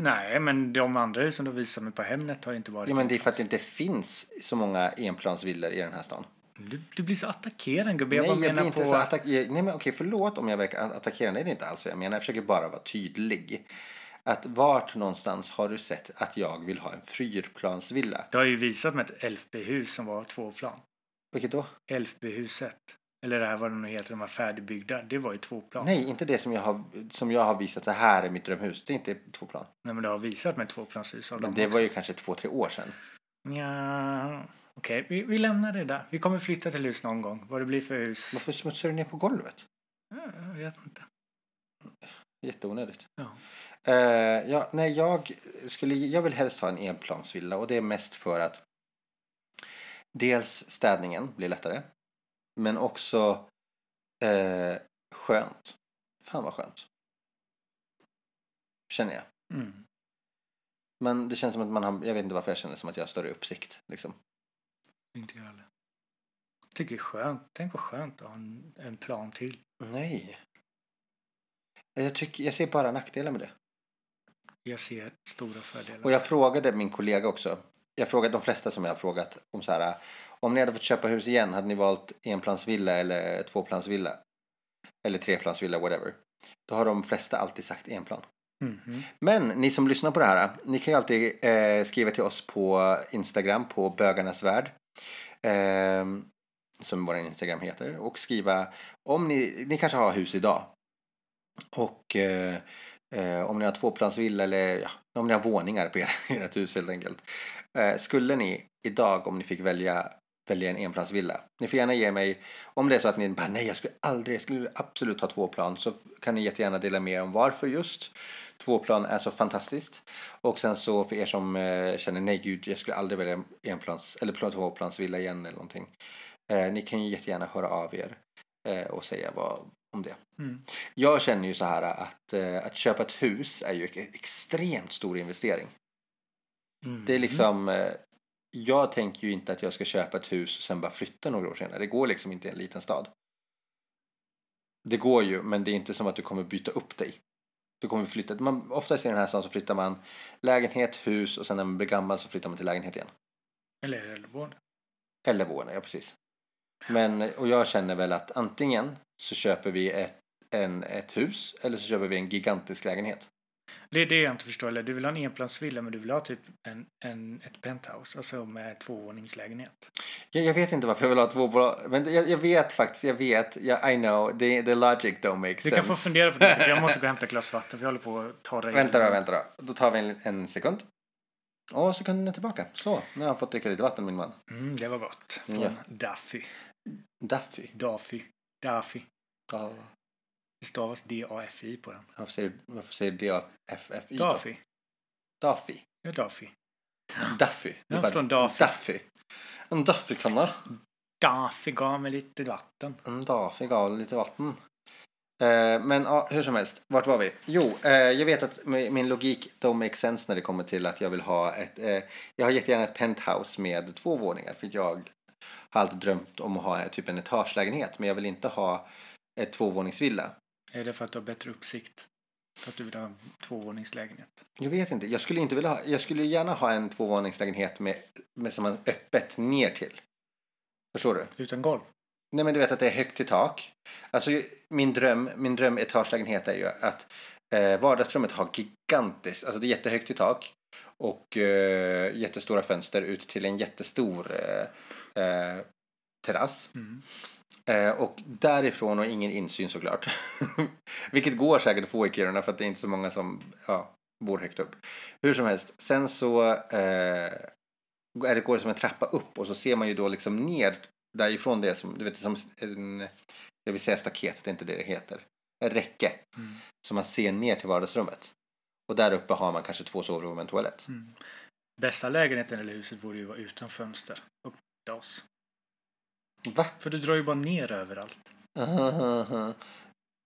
C: Nej, men de andra husen du visade mig på Hemnet har inte varit...
B: Ja, men det är för att det inte finns så många enplansvillor i den här stan.
C: du, du blir så attackerande gubbe.
B: Nej,
C: Jag bara
B: jag blir
C: menar
B: inte
C: på...
B: så attack... Nej, men okej, förlåt om jag verkar attackerande. Det är inte alls vad jag menar. Jag försöker bara vara tydlig. Att vart någonstans har du sett att jag vill ha en fyrplansvilla?
C: Du har ju visat mig ett LFB-hus som var tvåplan.
B: Vilket då?
C: LFB-huset. Eller det här vad de nu heter, de här färdigbyggda. Det var ju tvåplan. Nej.
B: Nej, inte det som jag har, som jag har visat. Så här är mitt drömhus. Det är inte tvåplan.
C: Nej, men du har visat mig tvåplanshus av
B: Men
C: dem
B: det
C: också.
B: var ju kanske två, tre år sedan.
C: Nja, okej, vi, vi lämnar det där. Vi kommer flytta till hus någon gång. Vad det blir för hus?
B: Varför smutsar du ner på golvet?
C: Ja, Jag vet inte.
B: Jätteonödigt.
C: Ja.
B: Eh, ja, nej, jag, skulle, jag vill helst ha en enplansvilla och det är mest för att dels städningen blir lättare men också eh, skönt. Fan vad skönt. Känner jag.
C: Mm.
B: Men det känns som att man har, jag vet inte varför jag känner som att jag har större uppsikt. Liksom.
C: Inte jag heller. Jag tycker det är skönt. Tänk vad skönt att ha en, en plan till.
B: Nej. Jag, tycker, jag ser bara nackdelar med det.
C: Jag ser stora fördelar.
B: Och jag frågade min kollega också. Jag frågade de flesta som jag har frågat om så här. Om ni hade fått köpa hus igen, hade ni valt enplansvilla eller tvåplansvilla? Eller treplansvilla, whatever. Då har de flesta alltid sagt enplan.
C: Mhm.
B: Men ni som lyssnar på det här, ni kan ju alltid eh, skriva till oss på Instagram på bögarnas värld. ehm, som vår Instagram heter. Och skriva om ni, ni kanske har hus idag. Och eh, eh, om ni har tvåplansvilla eller ja, om ni har våningar på er- [laughs] ert hus helt enkelt. Eh, skulle ni idag om ni fick välja välja en enplansvilla. Ni får gärna ge mig, om det är så att ni bara nej jag skulle aldrig, jag skulle absolut ha tvåplan så kan ni jättegärna dela med er om varför just tvåplan är så fantastiskt. Och sen så för er som eh, känner nej gud jag skulle aldrig välja enplans eller plan- tvåplansvilla igen eller någonting. Eh, ni kan ju jättegärna höra av er eh, och säga vad om det.
C: Mm.
B: Jag känner ju så här att, eh, att köpa ett hus är ju en extremt stor investering.
C: Mm.
B: Det är liksom, eh, jag tänker ju inte att jag ska köpa ett hus och sen bara flytta några år senare. Det går liksom inte i en liten stad. Det går ju, men det är inte som att du kommer byta upp dig. Du kommer flytta, man, oftast i den här stan så flyttar man lägenhet, hus och sen när man blir gammal så flyttar man till lägenhet igen.
C: Eller äldreboende.
B: Eller vårdnad, ja precis. Men, och jag känner väl att antingen så köper vi ett, en, ett hus eller så köper vi en gigantisk lägenhet.
C: Det är det jag inte förstår. Eller du vill ha en enplansvilla men du vill ha typ en, en, ett penthouse. Alltså med tvåvåningslägenhet.
B: Jag, jag vet inte varför jag vill ha två bolag. Men jag, jag vet faktiskt, jag vet. Jag, I know, the, the logic don't make
C: Du
B: sense.
C: kan få fundera på det. för Jag måste gå
B: [laughs]
C: och hämta ett glas vatten för jag håller på att torra i
B: Vänta då,
C: mig.
B: vänta då. Då tar vi en, en sekund. Och sekunden är tillbaka. Så, nu har han fått dricka lite vatten min man.
C: Mm, det var gott. Från
B: Ja.
C: Daffy.
B: Daffy.
C: Daffy. Daffy.
B: Ja,
C: Det stavas D-A-F-I på den.
B: varför säger, varför säger D-A-F-F-I då?
C: Daffy.
B: Daffy.
C: Ja, Daffy.
B: Daffy.
C: Ja,
B: Det var-
C: från Daffy.
B: Daffy. En Daffy-kanna.
C: Daffy gav mig lite vatten.
B: En dag Mm, fick av lite vatten. Eh, Men ja, hur som helst, vart var vi? Jo, eh, jag vet att mi- min logik don't make sense när det kommer till att jag vill ha ett... eh, Jag har jättegärna ett penthouse med två våningar för jag har alltid drömt om att ha eh, typ en etagelägenhet men jag vill inte ha ett tvåvåningsvilla.
C: Är det för att du har bättre uppsikt? För att du vill ha en tvåvåningslägenhet?
B: Jag vet inte, jag skulle inte vilja ha... Jag skulle gärna ha en tvåvåningslägenhet med, med som man öppet ner till. Förstår du?
C: Utan golv?
B: Nej men du vet att det är högt i tak. Alltså min dröm, min dröm etagelägenhet är ju att eh, vardagsrummet har gigantiskt, alltså det är jättehögt i tak och eh, jättestora fönster ut till en jättestor eh, eh, terrass.
C: Mm.
B: Eh, och därifrån och ingen insyn såklart. [laughs] Vilket går säkert att få i Kiruna för att det är inte så många som ja, bor högt upp. Hur som helst, sen så eh, är det, går det som en trappa upp och så ser man ju då liksom ner därifrån det som, du vet, som en, jag vill säga staket, det är inte det det heter, ett räcke
C: Mm.
B: som man ser ner till vardagsrummet. Och där uppe har man kanske två sovrum och en toalett.
C: Mm. Bästa lägenheten eller huset borde ju vara utan fönster och dass.
B: Va?
C: För du drar ju bara ner överallt.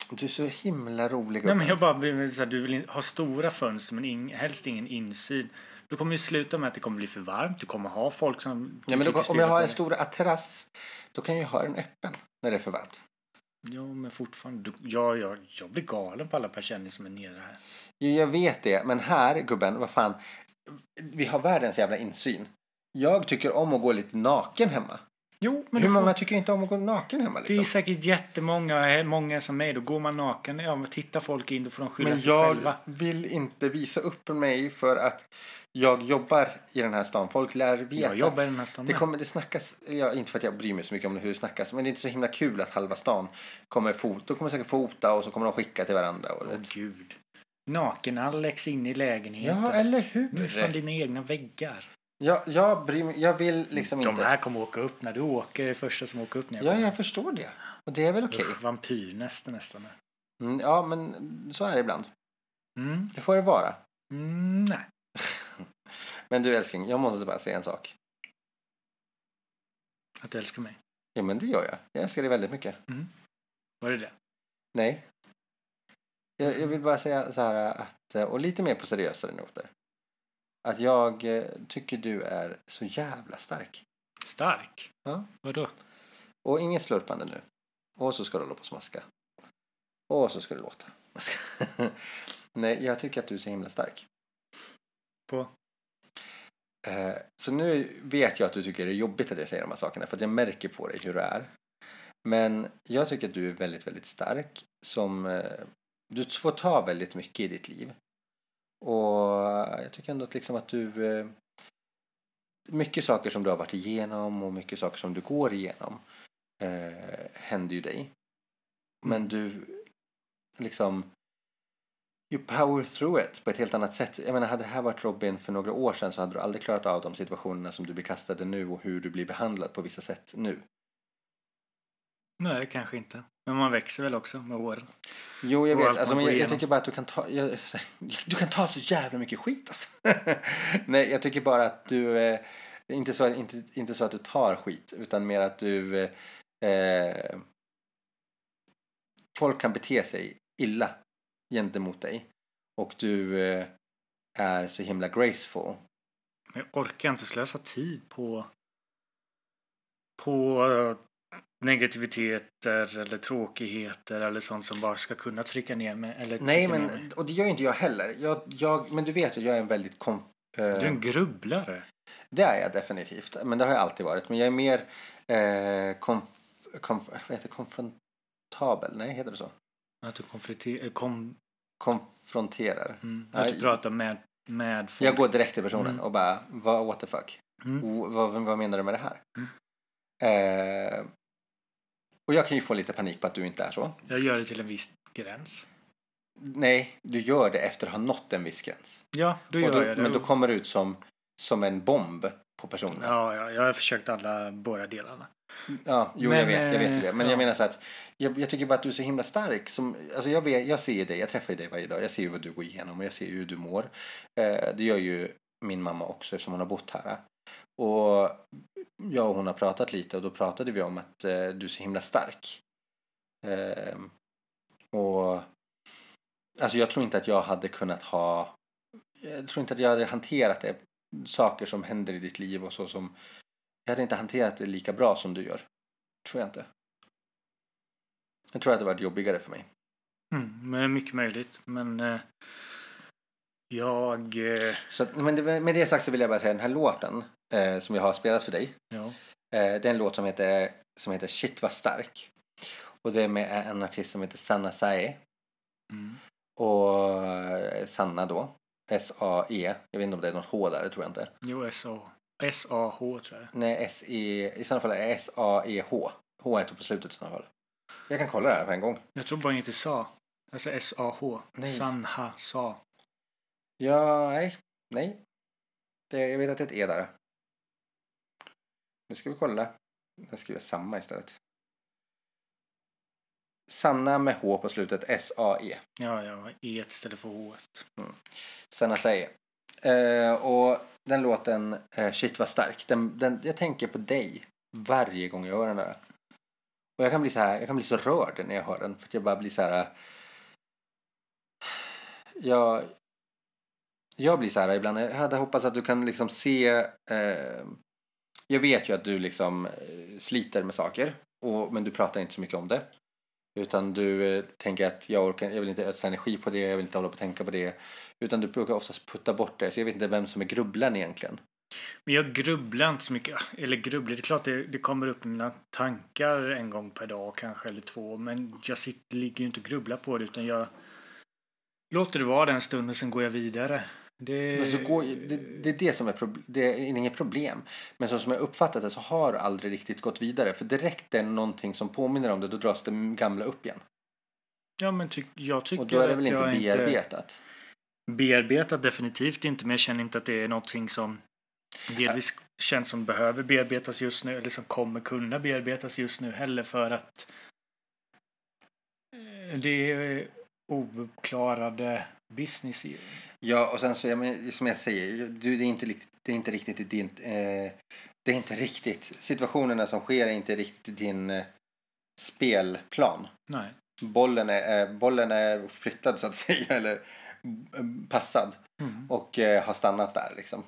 B: Du är så himla rolig.
C: Nej,
B: gubben.
C: men jag bara blir så här, du vill in- ha stora fönster men ing, helst ingen insyn. Du kommer ju sluta med att det kommer bli för varmt. Du kommer ha folk som...
B: Ja, men
C: tycker
B: då, om
C: stirrar
B: jag
C: på
B: har en
C: dig.
B: stor terrass, då kan jag ju ha den öppen när det är för varmt.
C: Ja, men fortfarande. Du, ja, ja, jag blir galen på alla per kändis som är nere här.
B: Jo, jag vet det. Men här, gubben, vad fan. Vi har världens jävla insyn. Jag tycker om att gå lite naken hemma.
C: Jo, men
B: Hur
C: du får-
B: många tycker inte om att gå naken hemma
C: det är
B: liksom?
C: säkert jättemånga eh, många som mig. Då går man naken. Ja, men tittar folk in då får de skylla
B: Men
C: sig
B: jag
C: själva.
B: vill inte visa upp mig för att jag jobbar i den här stan. Folk lär veta.
C: Jag jobbar i den här stan
B: Det,
C: med.
B: kommer, det snackas, ja, inte för att jag bryr mig så mycket om hur det snackas, men det är inte så himla kul att halva stan kommer fota. Då kommer säkert fota och så kommer de skicka till varandra. Och, du
C: Åh
B: vet.
C: gud. Naken-Alex in i lägenheten.
B: ja, eller
C: Nu är fan
B: hur?
C: dina egna väggar.
B: Jag, jag, bryr mig, jag vill liksom
C: De
B: inte.
C: här kommer åka upp när du åker. Det är första som åker upp när jag
B: Ja,
C: kommer.
B: jag förstår det. Och det är väl okej.
C: Usch, Vampyrnäste nästan.
B: Mm, ja, men så är det ibland.
C: Mm,
B: Det får det vara.
C: mm, nej.
B: Men du älskling, jag måste bara säga en sak.
C: Att du älskar mig.
B: Ja, men det gör jag. Jag älskar dig väldigt mycket.
C: Var det det?
B: Nej. Jag, jag vill bara säga så här att, eh, och lite mer på seriösare noter. Att jag eh, tycker du är så jävla stark.
C: Stark?
B: Ja.
C: Vadå?
B: Och inget slurpande nu. Och så ska du hålla på och smaska. Och så ska du låta. [laughs] Nej, jag tycker att du är så himla stark.
C: På?
B: Eh, Så nu vet jag att du tycker det är jobbigt att jag säger de här sakerna för att jag märker på dig hur du är. Men jag tycker att du är väldigt, väldigt stark. Som, eh, du får ta väldigt mycket i ditt liv. Och jag tycker ändå att, liksom att du... eh, Mycket saker som du har varit igenom och mycket saker som du går igenom eh, händer ju dig. Men du liksom... You power through it på ett helt annat sätt. Jag menar, hade det här varit Robin för några år sedan så hade du aldrig klarat av de situationerna som du blir kastade nu och hur du blir behandlad på vissa sätt nu.
C: Nej, det kanske inte. Men man växer väl också med åren.
B: Jo, jag
C: Och
B: vet.
C: allt
B: Alltså,
C: man
B: men
C: går
B: jag, jag
C: igenom.
B: tycker bara att du kan ta... Jag, [laughs] du kan ta så jävla mycket skit alltså. [laughs] Nej, jag tycker bara att du... Eh, inte, så, inte, inte så att du tar skit, utan mer att du... Eh, eh, folk kan bete sig illa gentemot dig. Och du eh, är så himla graceful.
C: Men jag orkar inte slösa tid på på eh, negativiteter eller tråkigheter eller sånt som bara ska kunna trycka ner mig. Eller
B: Nej,
C: trycka ner
B: men,
C: mig.
B: och det gör inte jag heller. Jag, jag, men du vet ju, jag är en väldigt... Kom, eh,
C: Du är en grubblare.
B: Det är jag definitivt. Men det har jag alltid varit. Men jag är mer eh, konf, konf, vad heter det? konfrontabel. Nej, heter det så?
C: Att du konfronterar... Kom,
B: Konfronterar.
C: mm, att
B: Nej.
C: du pratar med, med folk.
B: Jag går direkt till personen
C: Mm.
B: och bara, vad what the fuck?
C: Mm.
B: O, vad, vad menar du med det här?
C: Mm.
B: Eh, och jag kan ju få lite panik på att du inte är så.
C: Jag gör det till en viss gräns.
B: Nej, du gör det efter att ha nått en viss gräns.
C: Ja, då
B: Och
C: gör
B: då,
C: jag det.
B: men då kommer du ut som, som en bomb på personen.
C: ja, ja, jag har försökt alla båda delarna.
B: Ja, jo,
C: Men,
B: jag vet, jag vet ju
C: eh,
B: det. Men jag
C: ja.
B: menar så att jag, jag tycker bara att du är så himla stark. Som, alltså jag, vet, jag ser ju dig, jag träffar ju dig varje dag. Jag ser ju vad du går igenom och jag ser ju hur du mår. Eh, det gör ju min mamma också eftersom hon har bott här. Och jag och hon har pratat lite och då pratade vi om att eh, du är så himla stark. Eh, och alltså jag tror inte att jag hade kunnat ha jag tror inte att jag hade hanterat det saker som händer i ditt liv och så som jag hade inte hanterat det lika bra som du gör. Tror jag inte. Jag tror att det hade varit jobbigare för mig.
C: Mm, men mycket möjligt. Men eh, jag... Eh,
B: Så att, men det, med det sagt så vill jag bara säga den här låten eh, som jag har spelat för dig.
C: ja.
B: Eh, det är en låt som heter, som heter Shit vad stark. Och det är med en artist som heter Sanna Sae.
C: Mm.
B: Och eh, Sanna då. S-A-E. Jag vet inte om det är något H där, det tror jag inte.
C: Jo, S-A- S-A-H tror jag.
B: Nej, S-E. I sådana fall är det S-A-E-H. H heter på slutet i sådana fall. Jag kan kolla det här på en gång.
C: Jag tror bara inte sa. Alltså S-A-H.
B: Nej.
C: Sanha sa.
B: Ja, nej. Nej. Det, jag vet att det är ett E där. Nu ska vi kolla. Nu skriver jag samma istället. Sanna med H på slutet. S-A-E.
C: Ja, ja. E istället för H.
B: Sanna säger. Eh, och den låten, eh, shit vad stark. Den, den, jag tänker på dig varje gång jag hör den där. Och jag kan bli så, här, jag kan bli så rörd när jag hör den. För att jag bara blir så här. eh, Jag, jag blir så här ibland. Jag hade hoppats att du kan liksom se. Eh, jag vet ju att du liksom eh, sliter med saker. Och, men du pratar inte så mycket om det. Utan du eh, tänker att jag, orkar, jag vill inte ödsla energi på det, jag vill inte hålla på och tänka på det. Utan du brukar oftast putta bort det. Så jag vet inte vem som är grubblaren egentligen.
C: Men jag grubblar inte så mycket. Ah, Eller grubblar, det är klart det, det kommer upp i mina tankar en gång per dag kanske eller två. Men jag sitter, ligger ju inte och grubblar på det utan jag låter det vara den stunden sen går jag vidare. Det,
B: Men
C: Eh,
B: så går, det, det är det som är, proble- det är inget problem. Men så som jag uppfattat det så har det aldrig riktigt gått vidare. För direkt det är någonting som påminner om det, då dras det gamla upp igen.
C: Ja men ty, jag tycker
B: Och då är det
C: att
B: väl inte
C: jag
B: bearbetat.
C: bearbetat definitivt inte. Men jag känner inte att det är någonting som delvis känns som behöver bearbetas just nu. Eller som kommer kunna bearbetas just nu heller för att eh, det är ouppklarade business i-
B: Ja, och sen så, jag men, som jag säger, du, det, är inte, riktigt- det är inte riktigt i din... Eh, det är inte riktigt, situationerna som sker är inte riktigt i din eh, spelplan.
C: Nej.
B: Bollen är, eh, bollen är flyttad så att [laughs] säga, eller eh, passad.
C: Mm.
B: Och eh, har stannat där liksom.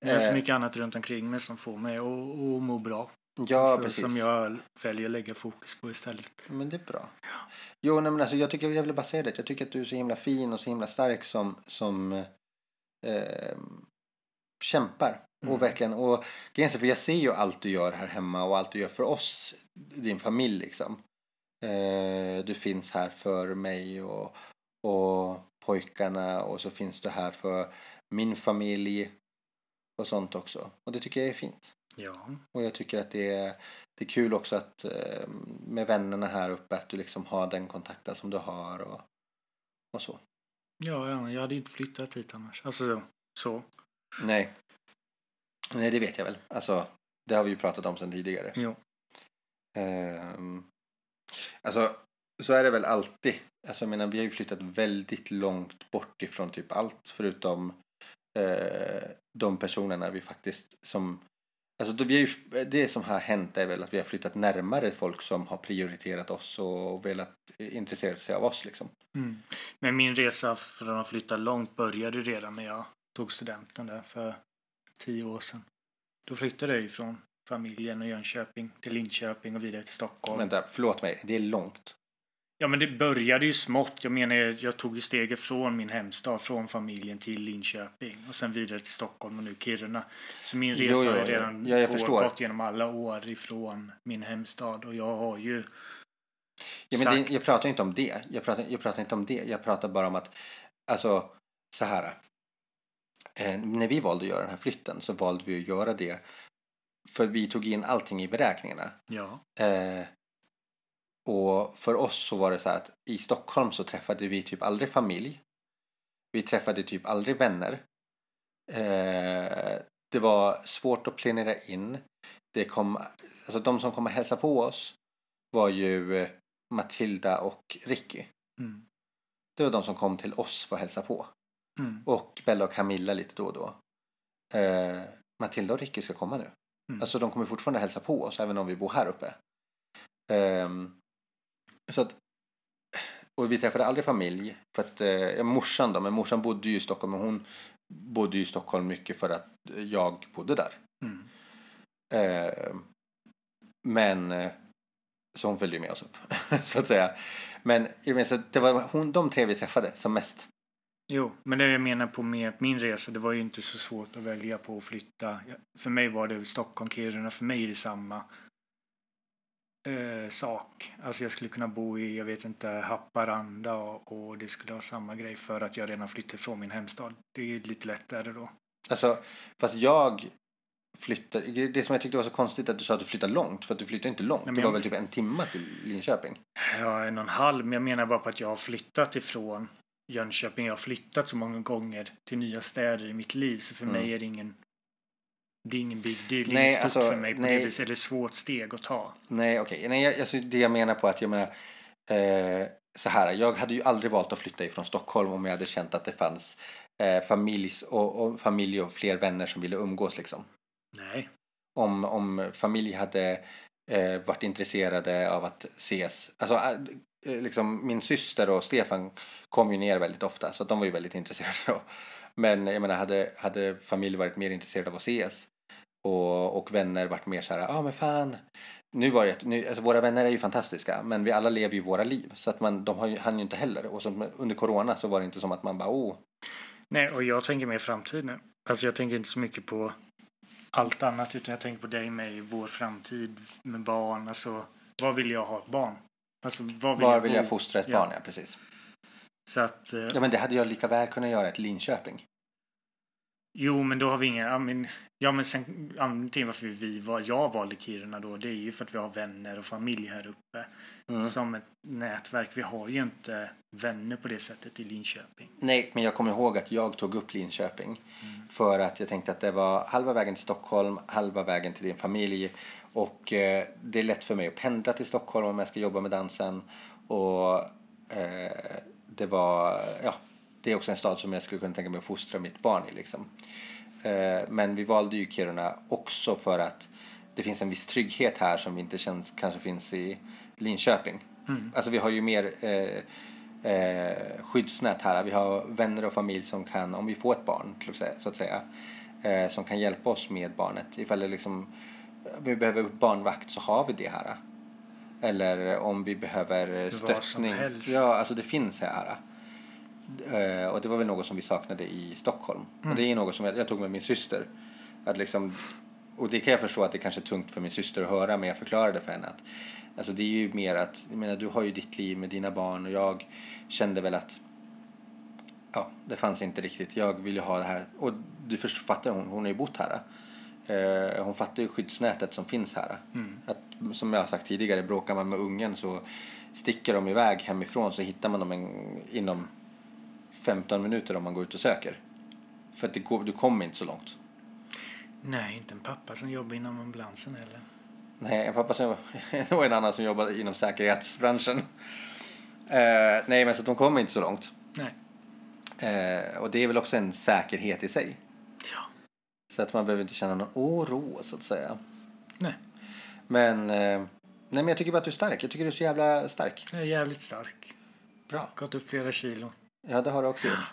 C: Det är så
B: Eh.
C: mycket annat runt omkring mig som får mig att att må bra.
B: Ja,
C: Så-
B: precis.
C: Som jag väljer att lägga fokus på istället.
B: Men det är bra. Jo, nej, men alltså, jag, tycker, jag vill bara säga det. Jag tycker att du är så himla fin och så himla stark som, som eh, kämpar.
C: Mm.
B: Och verkligen, och grejen är, för jag ser ju allt du gör här hemma och allt du gör för oss, din familj liksom. Eh, du finns här för mig och, och pojkarna och så finns du här för min familj och sånt också. Och det tycker jag är fint.
C: Ja.
B: Och jag tycker att det är, det är kul också att eh, med vännerna här uppe att du liksom har den kontakten som du har och, och så.
C: Ja, ja, jag hade ju inte flyttat hit annars. Alltså så. så.
B: Nej. Nej, det vet jag väl. Alltså, det har vi ju pratat om sedan tidigare.
C: Jo.
B: Ehm, alltså, så är det väl alltid. Alltså, jag menar, vi har ju flyttat väldigt långt bort ifrån typ allt förutom eh, de personerna vi faktiskt som... Alltså, då vi har ju, det som har hänt är väl att vi har flyttat närmare folk som har prioriterat oss och velat intressera sig av oss. Liksom.
C: Mm. Men min resa från att flytta långt började ju redan när jag tog studenten där för tio år sedan. Då flyttade jag ju från familjen och Jönköping till Linköping och vidare till Stockholm.
B: Vänta, förlåt mig, det är långt.
C: Ja men det började ju smått. Jag menar jag tog ju steget från min hemstad, från familjen till Linköping och sen vidare till Stockholm och nu Kiruna. Så min
B: Jo,
C: resa
B: jo,
C: har
B: jo.
C: ju redan
B: Ja, jag
C: går-
B: förstår.
C: gått genom alla år ifrån min hemstad och jag har ju
B: Ja, men det,
C: sagt-
B: jag pratar ju inte om det. Jag pratar, jag pratar inte om det. Jag pratar bara om att, alltså, så här. Eh, när vi valde att göra den här flytten så valde vi att göra det för vi tog in allting i beräkningarna.
C: Ja.
B: Eh, och för oss så var det så här att i Stockholm så träffade vi typ aldrig familj. Vi träffade typ aldrig vänner. Eh, det var svårt att planera in. Det kom, alltså de som kom och hälsade på oss var ju eh, Matilda och Ricky.
C: Mm.
B: Det var de som kom till oss för att hälsa på.
C: Mm.
B: Och Bella och Camilla lite då och då. Eh, Matilda och Ricky ska komma nu.
C: Mm.
B: Alltså de kommer fortfarande hälsa på oss även om vi bor här uppe. Ehm, så att, och vi träffade aldrig familj. För att, eh, ja, morsan då, men morsan bodde ju i Stockholm. Men hon bodde ju i Stockholm mycket för att jag bodde där.
C: Mm.
B: Eh, men eh, så hon följde ju med oss upp, [laughs] så att säga. Men jag menar, så det var hon, de tre vi träffade som mest.
C: Jo, men det jag menar på med min resa, det var ju inte så svårt att välja på att flytta. För mig var det Stockholm, Kiruna, för mig är det samma eh, sak. Alltså jag skulle kunna bo i, jag vet inte, Haparanda och, och det skulle ha samma grej för att jag redan flyttade från min hemstad. Det är ju lite lättare då.
B: Alltså, fast jag flyttade, det som jag tyckte var så konstigt att du sa att du flyttade långt, för att du flyttade inte långt.
C: Nej, men
B: det var
C: jag-
B: väl typ en timma till Linköping?
C: Ja, en och en halv, men jag menar bara på att jag har flyttat ifrån Jönköping. Jag har flyttat så många gånger till nya städer i mitt liv, så för
B: Mm.
C: mig är det ingen det är ingen big deal, det är
B: Nej,
C: inget stort
B: alltså,
C: för mig på
B: nej.
C: det viset. Det är ett svårt steg att ta.
B: Nej, okej. Nej, jag, alltså, det jag menar på att jag menar eh, så här. Jag hade ju aldrig valt att flytta ifrån Stockholm om jag hade känt att det fanns eh, familj och, och familj och fler vänner som ville umgås liksom.
C: Nej,
B: Om, om familj hade eh, varit intresserade av att ses. Alltså, eh, liksom, min syster och Stefan kom ju ner väldigt ofta så att de var ju väldigt [laughs] intresserade då. Men jag menar, hade, hade familj varit mer intresserad av att ses och, och vänner varit mer så här, ja ah, men fan, nu var det, ett- nu, alltså våra vänner är ju fantastiska, men vi alla lever ju våra liv. Så att man, de har ju, han ju inte heller. Och så, under corona så var det inte som att man bara, oh,
C: Nej, och jag tänker mer framtid nu. Alltså jag tänker inte så mycket på allt annat utan jag tänker på dig, mig, vår framtid med barn. Alltså, vad vill jag ha ett barn? Alltså, vad vill
B: var
C: jag
B: vill
C: bo?
B: jag fostra ett
C: Ja.
B: barn? Ja, precis.
C: Så att, eh,
B: Ja, men det hade jag lika väl kunnat göra ett Linköping.
C: Jo, men då har vi inga... Ja, men, ja, men sen, anledningen till varför vi var, jag valde Kiruna då, det är ju för att vi har vänner och familj här uppe.
B: Mm.
C: Som ett nätverk. Vi har ju inte vänner på det sättet i Linköping.
B: Nej, men jag kommer ihåg att jag tog upp Linköping. För att jag tänkte att det var halva vägen till Stockholm, halva vägen till din familj. Och eh, det är lätt för mig att pendla till Stockholm om jag ska jobba med dansen. Och eh, det var, ja, det är också en stad som jag skulle kunna tänka mig att fostra mitt barn i liksom. Eh, men vi valde ju Kiruna också för att det finns en viss trygghet här som vi inte känns, kanske finns i Linköping.
C: Mm.
B: Alltså vi har ju mer eh, eh, skyddsnät här. Vi har vänner och familj som kan, om vi får ett barn till att säga- så att säga, eh, som kan hjälpa oss med barnet. Ifall det liksom, vi behöver barnvakt så har vi det här. Eller om vi behöver eh,
C: som
B: stöttning.
C: helst.
B: Ja, alltså det finns här. Eh, och det var väl något som vi saknade i Stockholm. Och det är något som jag, jag tog med min syster. Att liksom, och det kan jag förstå att det kanske är tungt för min syster att höra men jag förklarade för henne att alltså det är ju mer att, jag menar du har ju ditt liv med dina barn och jag kände väl att ja, det fanns inte riktigt. Jag ville ha det här. Och du först- fattar hon, hon har ju bott här. Eh, hon fattar ju skyddsnätet som finns här. Att, som jag har sagt tidigare, bråkar man med ungen så sticker de iväg hemifrån så hittar man dem en, inom 15 minuter om man går ut och söker. För att det går, du kommer inte så långt.
C: Nej, inte en pappa som jobbar inom ambulansen heller.
B: Nej, en pappa som, [laughs] och en annan som jobbar inom säkerhetsbranschen. Eh, nej, men så att de kommer inte så långt.
C: Nej.
B: Eh, och det är väl också en säkerhet i sig.
C: Ja.
B: Så att man behöver inte känna någon oro så att säga.
C: Nej.
B: Men, eh, nej, men jag tycker bara att du är stark. Jag tycker du är så jävla stark.
C: Jag är jävligt stark.
B: Bra.
C: Gått upp flera kilo
B: Ja, det har du också gjort.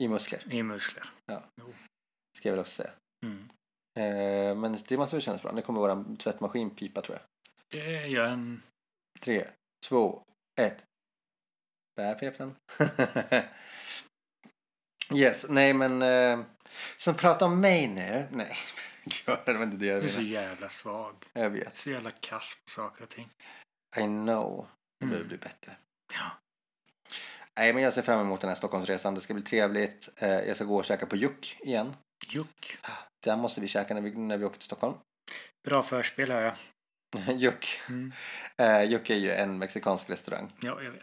B: I muskler,
C: i muskler.
B: ska jag väl också säga.
C: Mm.
B: Eh, men det måste väl kännas bra. Nu kommer vår tvättmaskin pipa tror jag.
C: Eh, Jag är en...
B: Tre, två, ett. Där pep den. [laughs] yes, nej men... Eh, så prata om mig nu. Nej, [laughs] gör det var inte det jag
C: Du är så
B: ville.
C: jävla svag.
B: Jag vet.
C: Så jävla kass på saker och ting.
B: I know. Det
C: Mm.
B: behöver bli bättre.
C: Ja.
B: Nej, men jag ser fram emot den här Stockholmsresan. Det ska bli trevligt. Eh, jag ska gå och käka på Juck igen.
C: Juck.
B: Där måste vi käka när vi, när vi åker till Stockholm. [laughs]
C: Bra förspel har jag.
B: Juck.
C: Mm.
B: Eh, Juck är ju en mexikansk restaurang.
C: Ja, jag vet.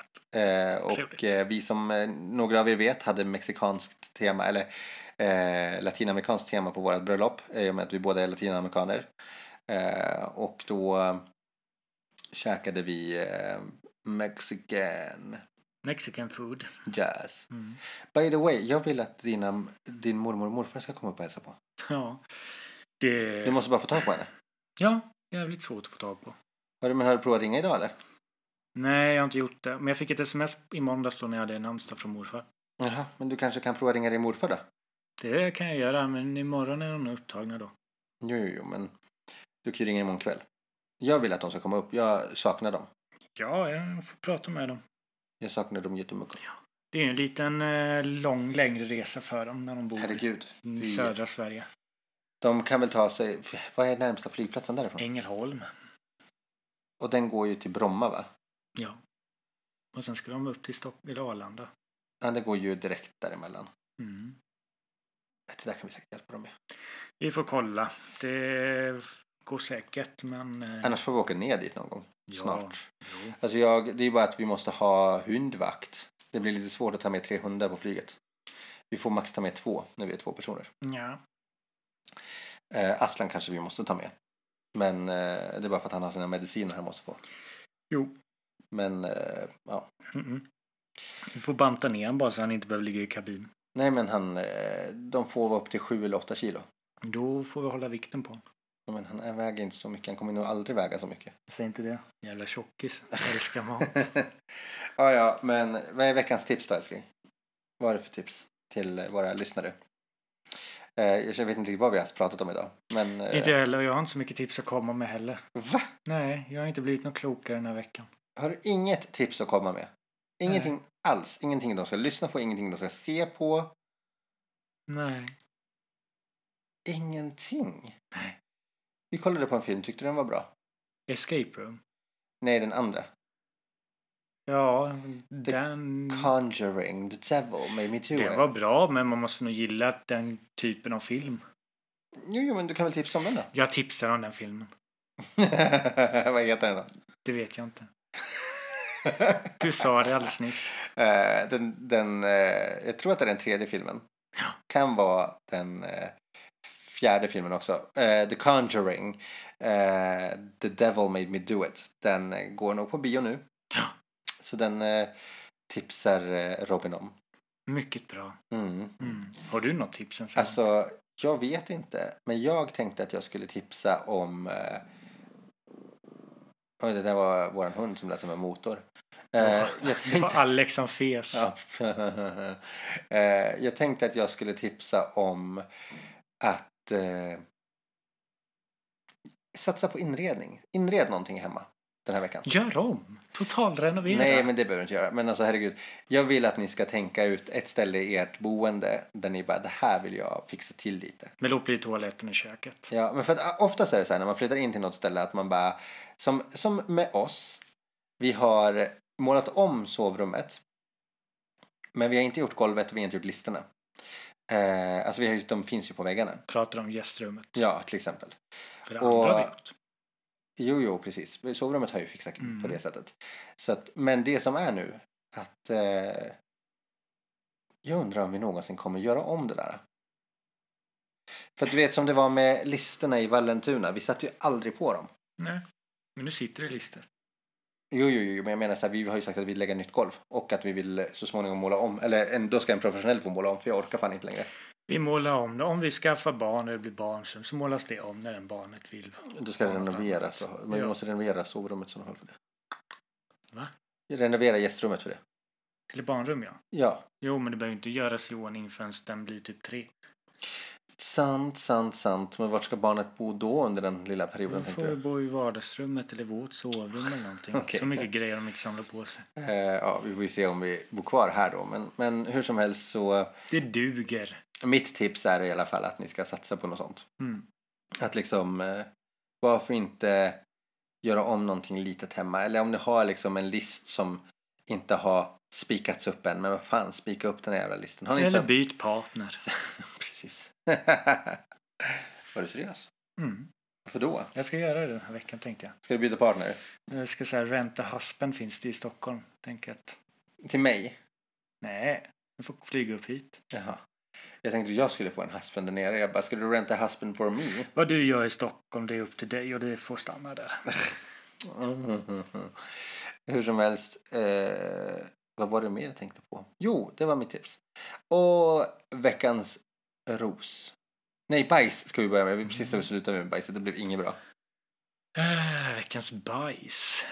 B: Eh, och
C: Trevligt.
B: eh, vi som eh, några av er vet hade mexikanskt tema eller eh, latinamerikanskt tema på vårt bröllop i och med att vi båda är latinamerikaner. Eh, och då käkade vi eh, mexican
C: Mexican food.
B: jazz.
C: Mm.
B: By the way, jag vill att dina, din mormor och morfar ska komma upp och hälsa på.
C: Ja. Det...
B: Du måste bara få tag på henne.
C: Ja, jävligt svårt att få tag på.
B: Har du, men har du provat att ringa idag eller?
C: Nej, jag har inte gjort det. Men jag fick ett sms i måndags då när jag hade namnsdag från morfar.
B: Jaha, men du kanske kan prova att ringa din morfar då?
C: Det kan jag göra, men imorgon är de nog upptagna då.
B: Jo, jo, jo, men du kan ju ringa imorgon kväll. Jag vill att de ska komma upp. Jag saknar dem.
C: Ja, jag får prata med dem.
B: Jag saknar dem jättemycket.
C: Det är ju en liten eh, lång, längre resa för dem när de bor
B: Herregud.
C: i
B: fy.
C: södra Sverige.
B: De kan väl ta sig... Vad är närmsta flygplatsen
C: Mm.
B: därifrån?
C: Ängelholm.
B: Och den går ju till Bromma va?
C: Ja. Och sen ska de upp till Stock- eller Arlanda.
B: Ja, den går ju direkt däremellan.
C: Mm.
B: Det där kan vi säkert hjälpa dem med.
C: Vi får kolla. Det går säkert, men... eh,
B: Annars får vi åka ner dit någon gång.
C: Ja.
B: Snart.
C: jo.
B: Alltså jag, det är ju bara att vi måste ha hundvakt. Det blir lite svårt att ta med tre hundar på flyget. Vi får max ta med två när vi är två personer.
C: Ja.
B: Eh, Aslan kanske vi måste ta med. Men eh, det är bara för att han har sina mediciner han måste få.
C: Jo.
B: Men eh, ja.
C: Mm-mm. Vi får banta ner honom bara så han inte behöver ligga i kabin.
B: Nej men han, eh, de får vara upp till sju eller åtta kilo.
C: Då får vi hålla vikten på honom.
B: Ja, Men han väger inte så mycket, han kommer nog aldrig väga så mycket. [laughs]
C: Säg inte det. Jävla tjockis. Älskar mat.
B: ja, ja, men vad är veckans tips då älskling? Vad är det för tips till våra lyssnare? Eh, jag vet inte riktigt vad vi har pratat om idag. Men, eh,
C: [laughs] Inte jag heller och jag har inte så mycket tips att komma med heller.
B: Va?
C: Nej, jag har inte blivit något klokare den här veckan.
B: Har du inget tips att komma med? Ingenting alls. Ingenting de ska lyssna på, ingenting de ska se på.
C: Nej.
B: Ingenting.
C: Nej.
B: Vi kollade på en film, tyckte du den var bra?
C: Escape Room.
B: Nej, den andra.
C: Ja, den...
B: Conjuring, the devil made me do
C: Mm. Det
B: it.
C: var bra, men man måste nog gilla den typen av film.
B: Jo, jo, men du kan väl tipsa om den då? [laughs]
C: Jag tipsar om den filmen.
B: vad heter den då?
C: Det vet jag inte.
B: [laughs]
C: Du sa det alldeles nyss.
B: Eh, den, den, eh, jag tror att det är den tredje filmen. Kan vara den eh, fjärde filmen också. Eh, The Conjuring. eh, The Devil Made Me Do It. Den eh, går nog på bio nu.
C: Ja.
B: Så den eh, tipsar eh, Robin om.
C: Mycket bra.
B: Mm.
C: Mm. Har du något tips sen?
B: Alltså, jag vet inte. Men jag tänkte att jag skulle tipsa om... Eh... Oj, det där var vår hund som lät som en motor. Eh, jag
C: Det var
B: tänkte...
C: Alex som fes.
B: Ja. [laughs] eh, jag tänkte att jag skulle tipsa om att eh, satsa på inredning. Inred någonting hemma den här veckan.
C: Gör om! Totalrenovera.
B: Nej, men det behöver du inte göra. Men alltså herregud, jag vill att ni ska tänka ut ett ställe i ert boende där ni bara, det här vill jag fixa till lite.
C: Men låt bli toaletten i köket.
B: Ja, men för att ah, oftast är det så här när man flyttar in till något ställe att man bara, som, som med oss, vi har målat om sovrummet. Men vi har inte gjort golvet och vi har inte gjort listerna. Eh, alltså vi har, ju- de finns ju på väggarna.
C: Pratar om gästrummet.
B: Ja, till exempel.
C: För det
B: Och-
C: andra vet.
B: Jo, jo, precis. Sovrummet har ju fixat
C: Mm.
B: på det sättet. Så att, men det som är nu, att eh, jag undrar om vi någonsin kommer göra om det där. För att du vet som det var med listerna i Vallentuna, vi satte ju aldrig på dem.
C: Nej. Men nu sitter det lister.
B: Jo, jo, jo, men jag menar så här, vi har ju sagt att vi lägger nytt golv och att vi vill eh, så småningom måla om. Eller en, då ska en professionell få måla om för jag orkar fan inte längre.
C: Vi målar om det. Om vi skaffar barn eller blir barn så målas det om när den barnet vill.
B: Då ska det
C: Ja,
B: renoveras.
C: annat.
B: och- Men vi
C: Ja.
B: måste renovera sovrummet i sådana fall för det.
C: Va?
B: Renovera gästrummet för det.
C: Till barnrum ja.
B: Ja,
C: Jo, men det behöver inte göras i ordning förrän den blir typ tre.
B: sant, sant, sant. Men vart ska barnet bo då under den lilla
C: Då
B: perioden?
C: får
B: Tänkte
C: vi
B: du?
C: bo i vardagsrummet eller vårt sovrum eller någonting.
B: Okej.
C: Så mycket grejer de inte samlar på sig.
B: Eh, ja, vi får ju se om vi bor kvar här då. Men, men hur som helst så,
C: Det duger.
B: mitt tips är i alla fall att ni ska satsa på något sånt.
C: Mm.
B: Att liksom, eh, varför inte göra om någonting litet hemma? Eller om ni har liksom en list som inte har spikats upp än, men vad fan, spika upp den här jävla listan. Har ni
C: Eller
B: inte så...
C: byt partner.
B: Precis. [laughs] Var du seriös?
C: Mm.
B: Varför då?
C: Jag ska göra det den här veckan tänkte jag.
B: Ska du byta partner?
C: Jag Eh, ska säga Rent a Husband finns det i Stockholm. Tänk att
B: Till mig?
C: nej, du får flyga upp hit.
B: Jaha. Jag tänkte att jag skulle få en husband där nere. Jag bara, ska du renta husband for me?
C: Vad du gör i Stockholm det är upp till dig och det får stanna där.
B: Mm. [laughs] Hur som helst, eh, vad var det mer jag tänkte på? Jo, det var mitt tips. Och veckans ros. Nej, bajs ska vi börja med. Vi precis har slutat med bajset, det blev inget bra.
C: Äh, veckans bajs.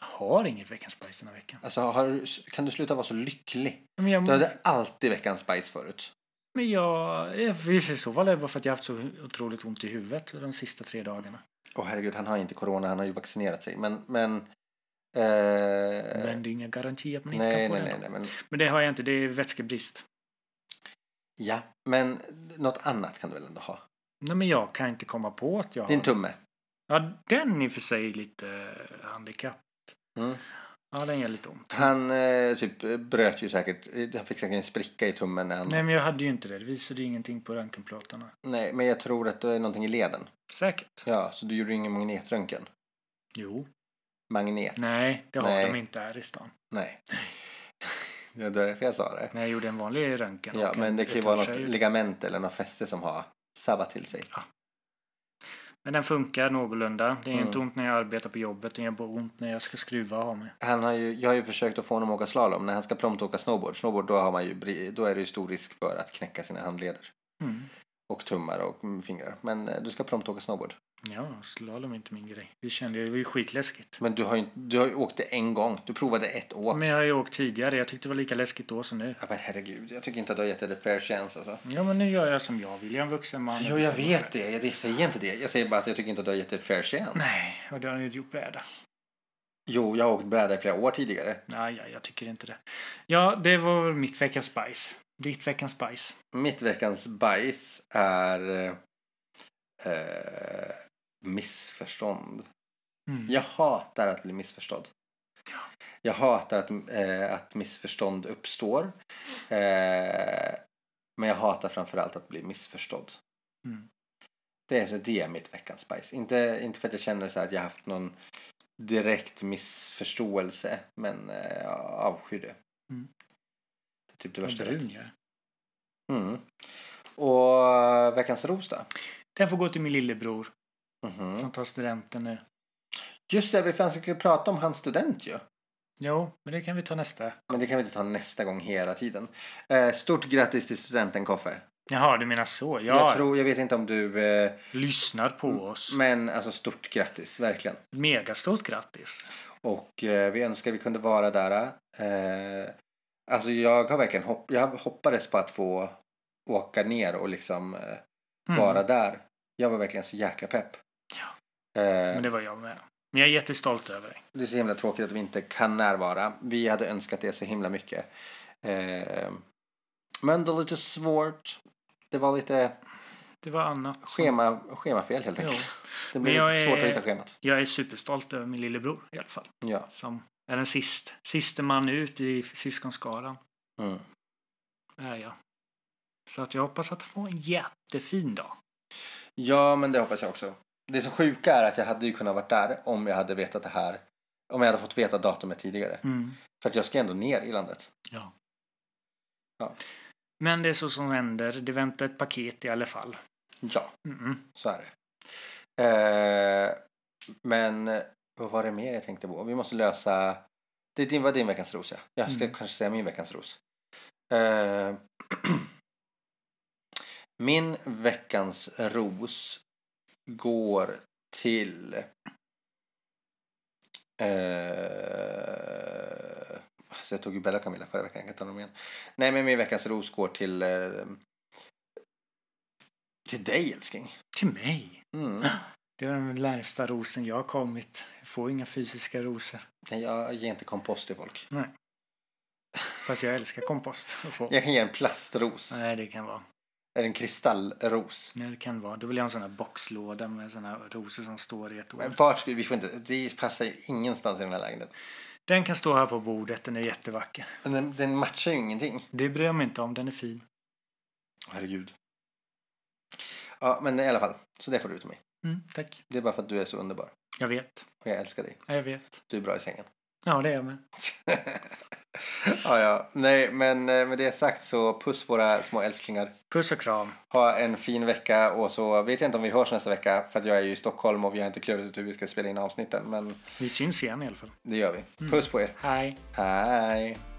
C: Jag har inget veckans bajs den här veckan.
B: Alltså, har du, kan du sluta vara så lycklig?
C: Men jag,
B: Du hade alltid veckans bajs förut.
C: men jag, i så fall är det bara för att jag haft så otroligt ont i huvudet de sista tre dagarna.
B: Åh herregud, han har inte corona, han har ju vaccinerat sig. Men, men... Eh,
C: Men det är inga garantier att man inte
B: nej,
C: kan få
B: nej,
C: det.
B: nej, nej, men...
C: Men det har jag inte, det är vätskebrist.
B: Ja, men något annat kan du väl ändå ha?
C: Nej men jag kan inte komma på att jag
B: Din
C: har...
B: tumme.
C: Ja, den i och för sig är lite eh, handikapp.
B: Mm.
C: Ja, den gör lite ont.
B: Han eh, typ bröt ju säkert, han fick säkert en spricka i tummen när han...
C: Nej, men jag hade ju inte det. Det visade ju ingenting på röntgenplåtarna.
B: Nej, men jag tror att det är någonting i leden.
C: Säkert.
B: Ja, så du gjorde ingen magnetröntgen?
C: Jo.
B: Magnet?
C: Nej, det har
B: Nej.
C: de inte här i stan.
B: Nej. [laughs] det var därför jag sa det.
C: Men jag gjorde en vanlig röntgen.
B: Ja,
C: och en
B: men det kan ju vara något
C: retursgrej.
B: ligament eller något fäste som har sabbat till sig.
C: Men den funkar någorlunda. Det är
B: Mm.
C: inte ont när jag arbetar på jobbet. Det gör bara ont när jag ska skruva av mig.
B: Han har ju, jag har ju försökt att få honom att åka slalom. När han ska promptåka snowboard, snowboard då, har man ju, bri- då är det ju stor risk för att knäcka sina handleder.
C: Mm.
B: Och tummar och mm, fingrar. Men eh, du ska promptåka snowboard.
C: Ja, slalom är inte min grej. Det kände jag, det var ju skitläskigt.
B: Men du har ju, du har ju åkt det en gång. Du provade ett åk.
C: Men jag har ju åkt tidigare, jag tyckte det var lika läskigt då som nu.
B: Ja, men herregud, jag tycker inte att du har gett det fair chance alltså.
C: Ja, men nu gör jag som jag vill. Jag är en vuxen man.
B: Jo, jag vet det. Jag säger inte det. Jag säger bara att jag tycker inte att du har gett det fair chance.
C: Nej, och det har jag ju inte gjort bräda.
B: Jo, jag har åkt bräda i flera år tidigare.
C: Nej, ja, jag tycker inte det. Ja, det var väl mitt veckans spice. Ditt veckans spice.
B: Mitt veckans bajs är eh, eh, missförstånd.
C: Mm.
B: Jag hatar att bli missförstådd. Jag hatar att, eh, att missförstånd uppstår. Eh, men jag hatar framförallt att bli missförstådd.
C: Mm.
B: Det är, så, det är mitt veckans bajs. Inte, inte för att jag känner så här att jag haft någon direkt missförståelse. Men eh, jag avskyr det.
C: Mm.
B: Det är typ det
C: Vad
B: värsta jag vet.
C: brun jag är.
B: Mm. Och eh, veckans ros då?
C: Den får gå till min lillebror
B: Mhm.
C: som tar studenten nu.
B: Just det, vi fan skulle prata om hans student ju.
C: Jo, men det kan vi ta nästa.
B: Men det kan vi inte ta nästa gång hela tiden. Eh, stort grattis till studenten Koffe.
C: Jaha, du menar så. Ja,
B: Jag tror, jag vet inte om du, eh,
C: lyssnar på oss.
B: men alltså stort grattis, verkligen.
C: Megastort grattis.
B: Och eh, vi önskar vi kunde vara där. Eh, alltså jag har verkligen hopp, jag hoppades på att få åka ner och liksom eh,
C: Mm,
B: vara där. Jag var verkligen så jäkla pepp. Eh,
C: Men det var jag med. Men jag är jättestolt över dig.
B: Det är så himla tråkigt att vi inte kan närvara. Vi hade önskat det så himla mycket. Eh, men det var lite svårt. Det var lite
C: Det var annat. som-
B: schema, schemafel helt
C: Jo.
B: enkelt. Det
C: Men
B: blev
C: jag
B: lite
C: är-
B: svårt att hitta schemat.
C: Jag är superstolt över min lillebror i alla fall.
B: Ja.
C: Som är den sist, siste man ut i syskonskaran.
B: Mm.
C: Det är jag. Så att jag hoppas att han får en jättefin dag.
B: ja, men det hoppas jag också. Det som sjuka är att jag hade ju kunnat varit där om jag hade vetat det här. Om jag hade fått veta datumet tidigare. För att jag ska ändå ner i landet.
C: Men det är så som händer. Det väntar ett paket i alla fall.
B: Ja,
C: Mm-mm.
B: så är det. Eh, men eh, vad var det mer jag tänkte på? Vi måste lösa... Det är din, var din veckans ros, ja. Jag ska
C: Mm.
B: kanske säga min veckans ros. Eh, [clears throat] min veckans ros går till... Eh, alltså jag tog ju Bella och Camilla förra veckan, jag kan ta dem igen. Nej, men min veckans ros går till... Eh, till dig, älskling.
C: Till mig?
B: Mm.
C: Det är den närmsta rosen jag har kommit. Jag får inga fysiska rosor.
B: Nej, jag ger inte kompost till folk.
C: Fast jag älskar kompost. att få.
B: [laughs] Jag kan ge en plastros.
C: Nej, det kan vara.
B: Eller en kristallros.
C: Nej, det kan vara. Då vill jag ha en sån här boxlåda med såna här rosor som står i ett
B: Men
C: år.
B: vart ska vi? får inte... Det passar ju ingenstans i den här lägenheten.
C: Den kan stå här på bordet. Den är jättevacker.
B: Men Den, den matchar ju ingenting.
C: Det bryr jag mig inte om. Den är fin.
B: Herregud. Ja, men i alla fall. Så det får du till mig.
C: Mm, tack.
B: Det är bara för att du är så underbar.
C: Jag vet.
B: Och jag älskar dig.
C: Ja, Jag vet.
B: Du är bra i sängen. [laughs]
C: Ja, det är jag med.
B: ja, ja. Nej, men eh, med det sagt så puss våra små älsklingar.
C: Puss och kram.
B: Ha en fin vecka och så vet jag inte om vi hörs nästa vecka för att jag är ju i Stockholm och vi har inte klurat ut hur vi ska spela in avsnitten. Men
C: Vi syns igen i alla fall.
B: det gör vi. Puss på er.
C: Hej.
B: Hej.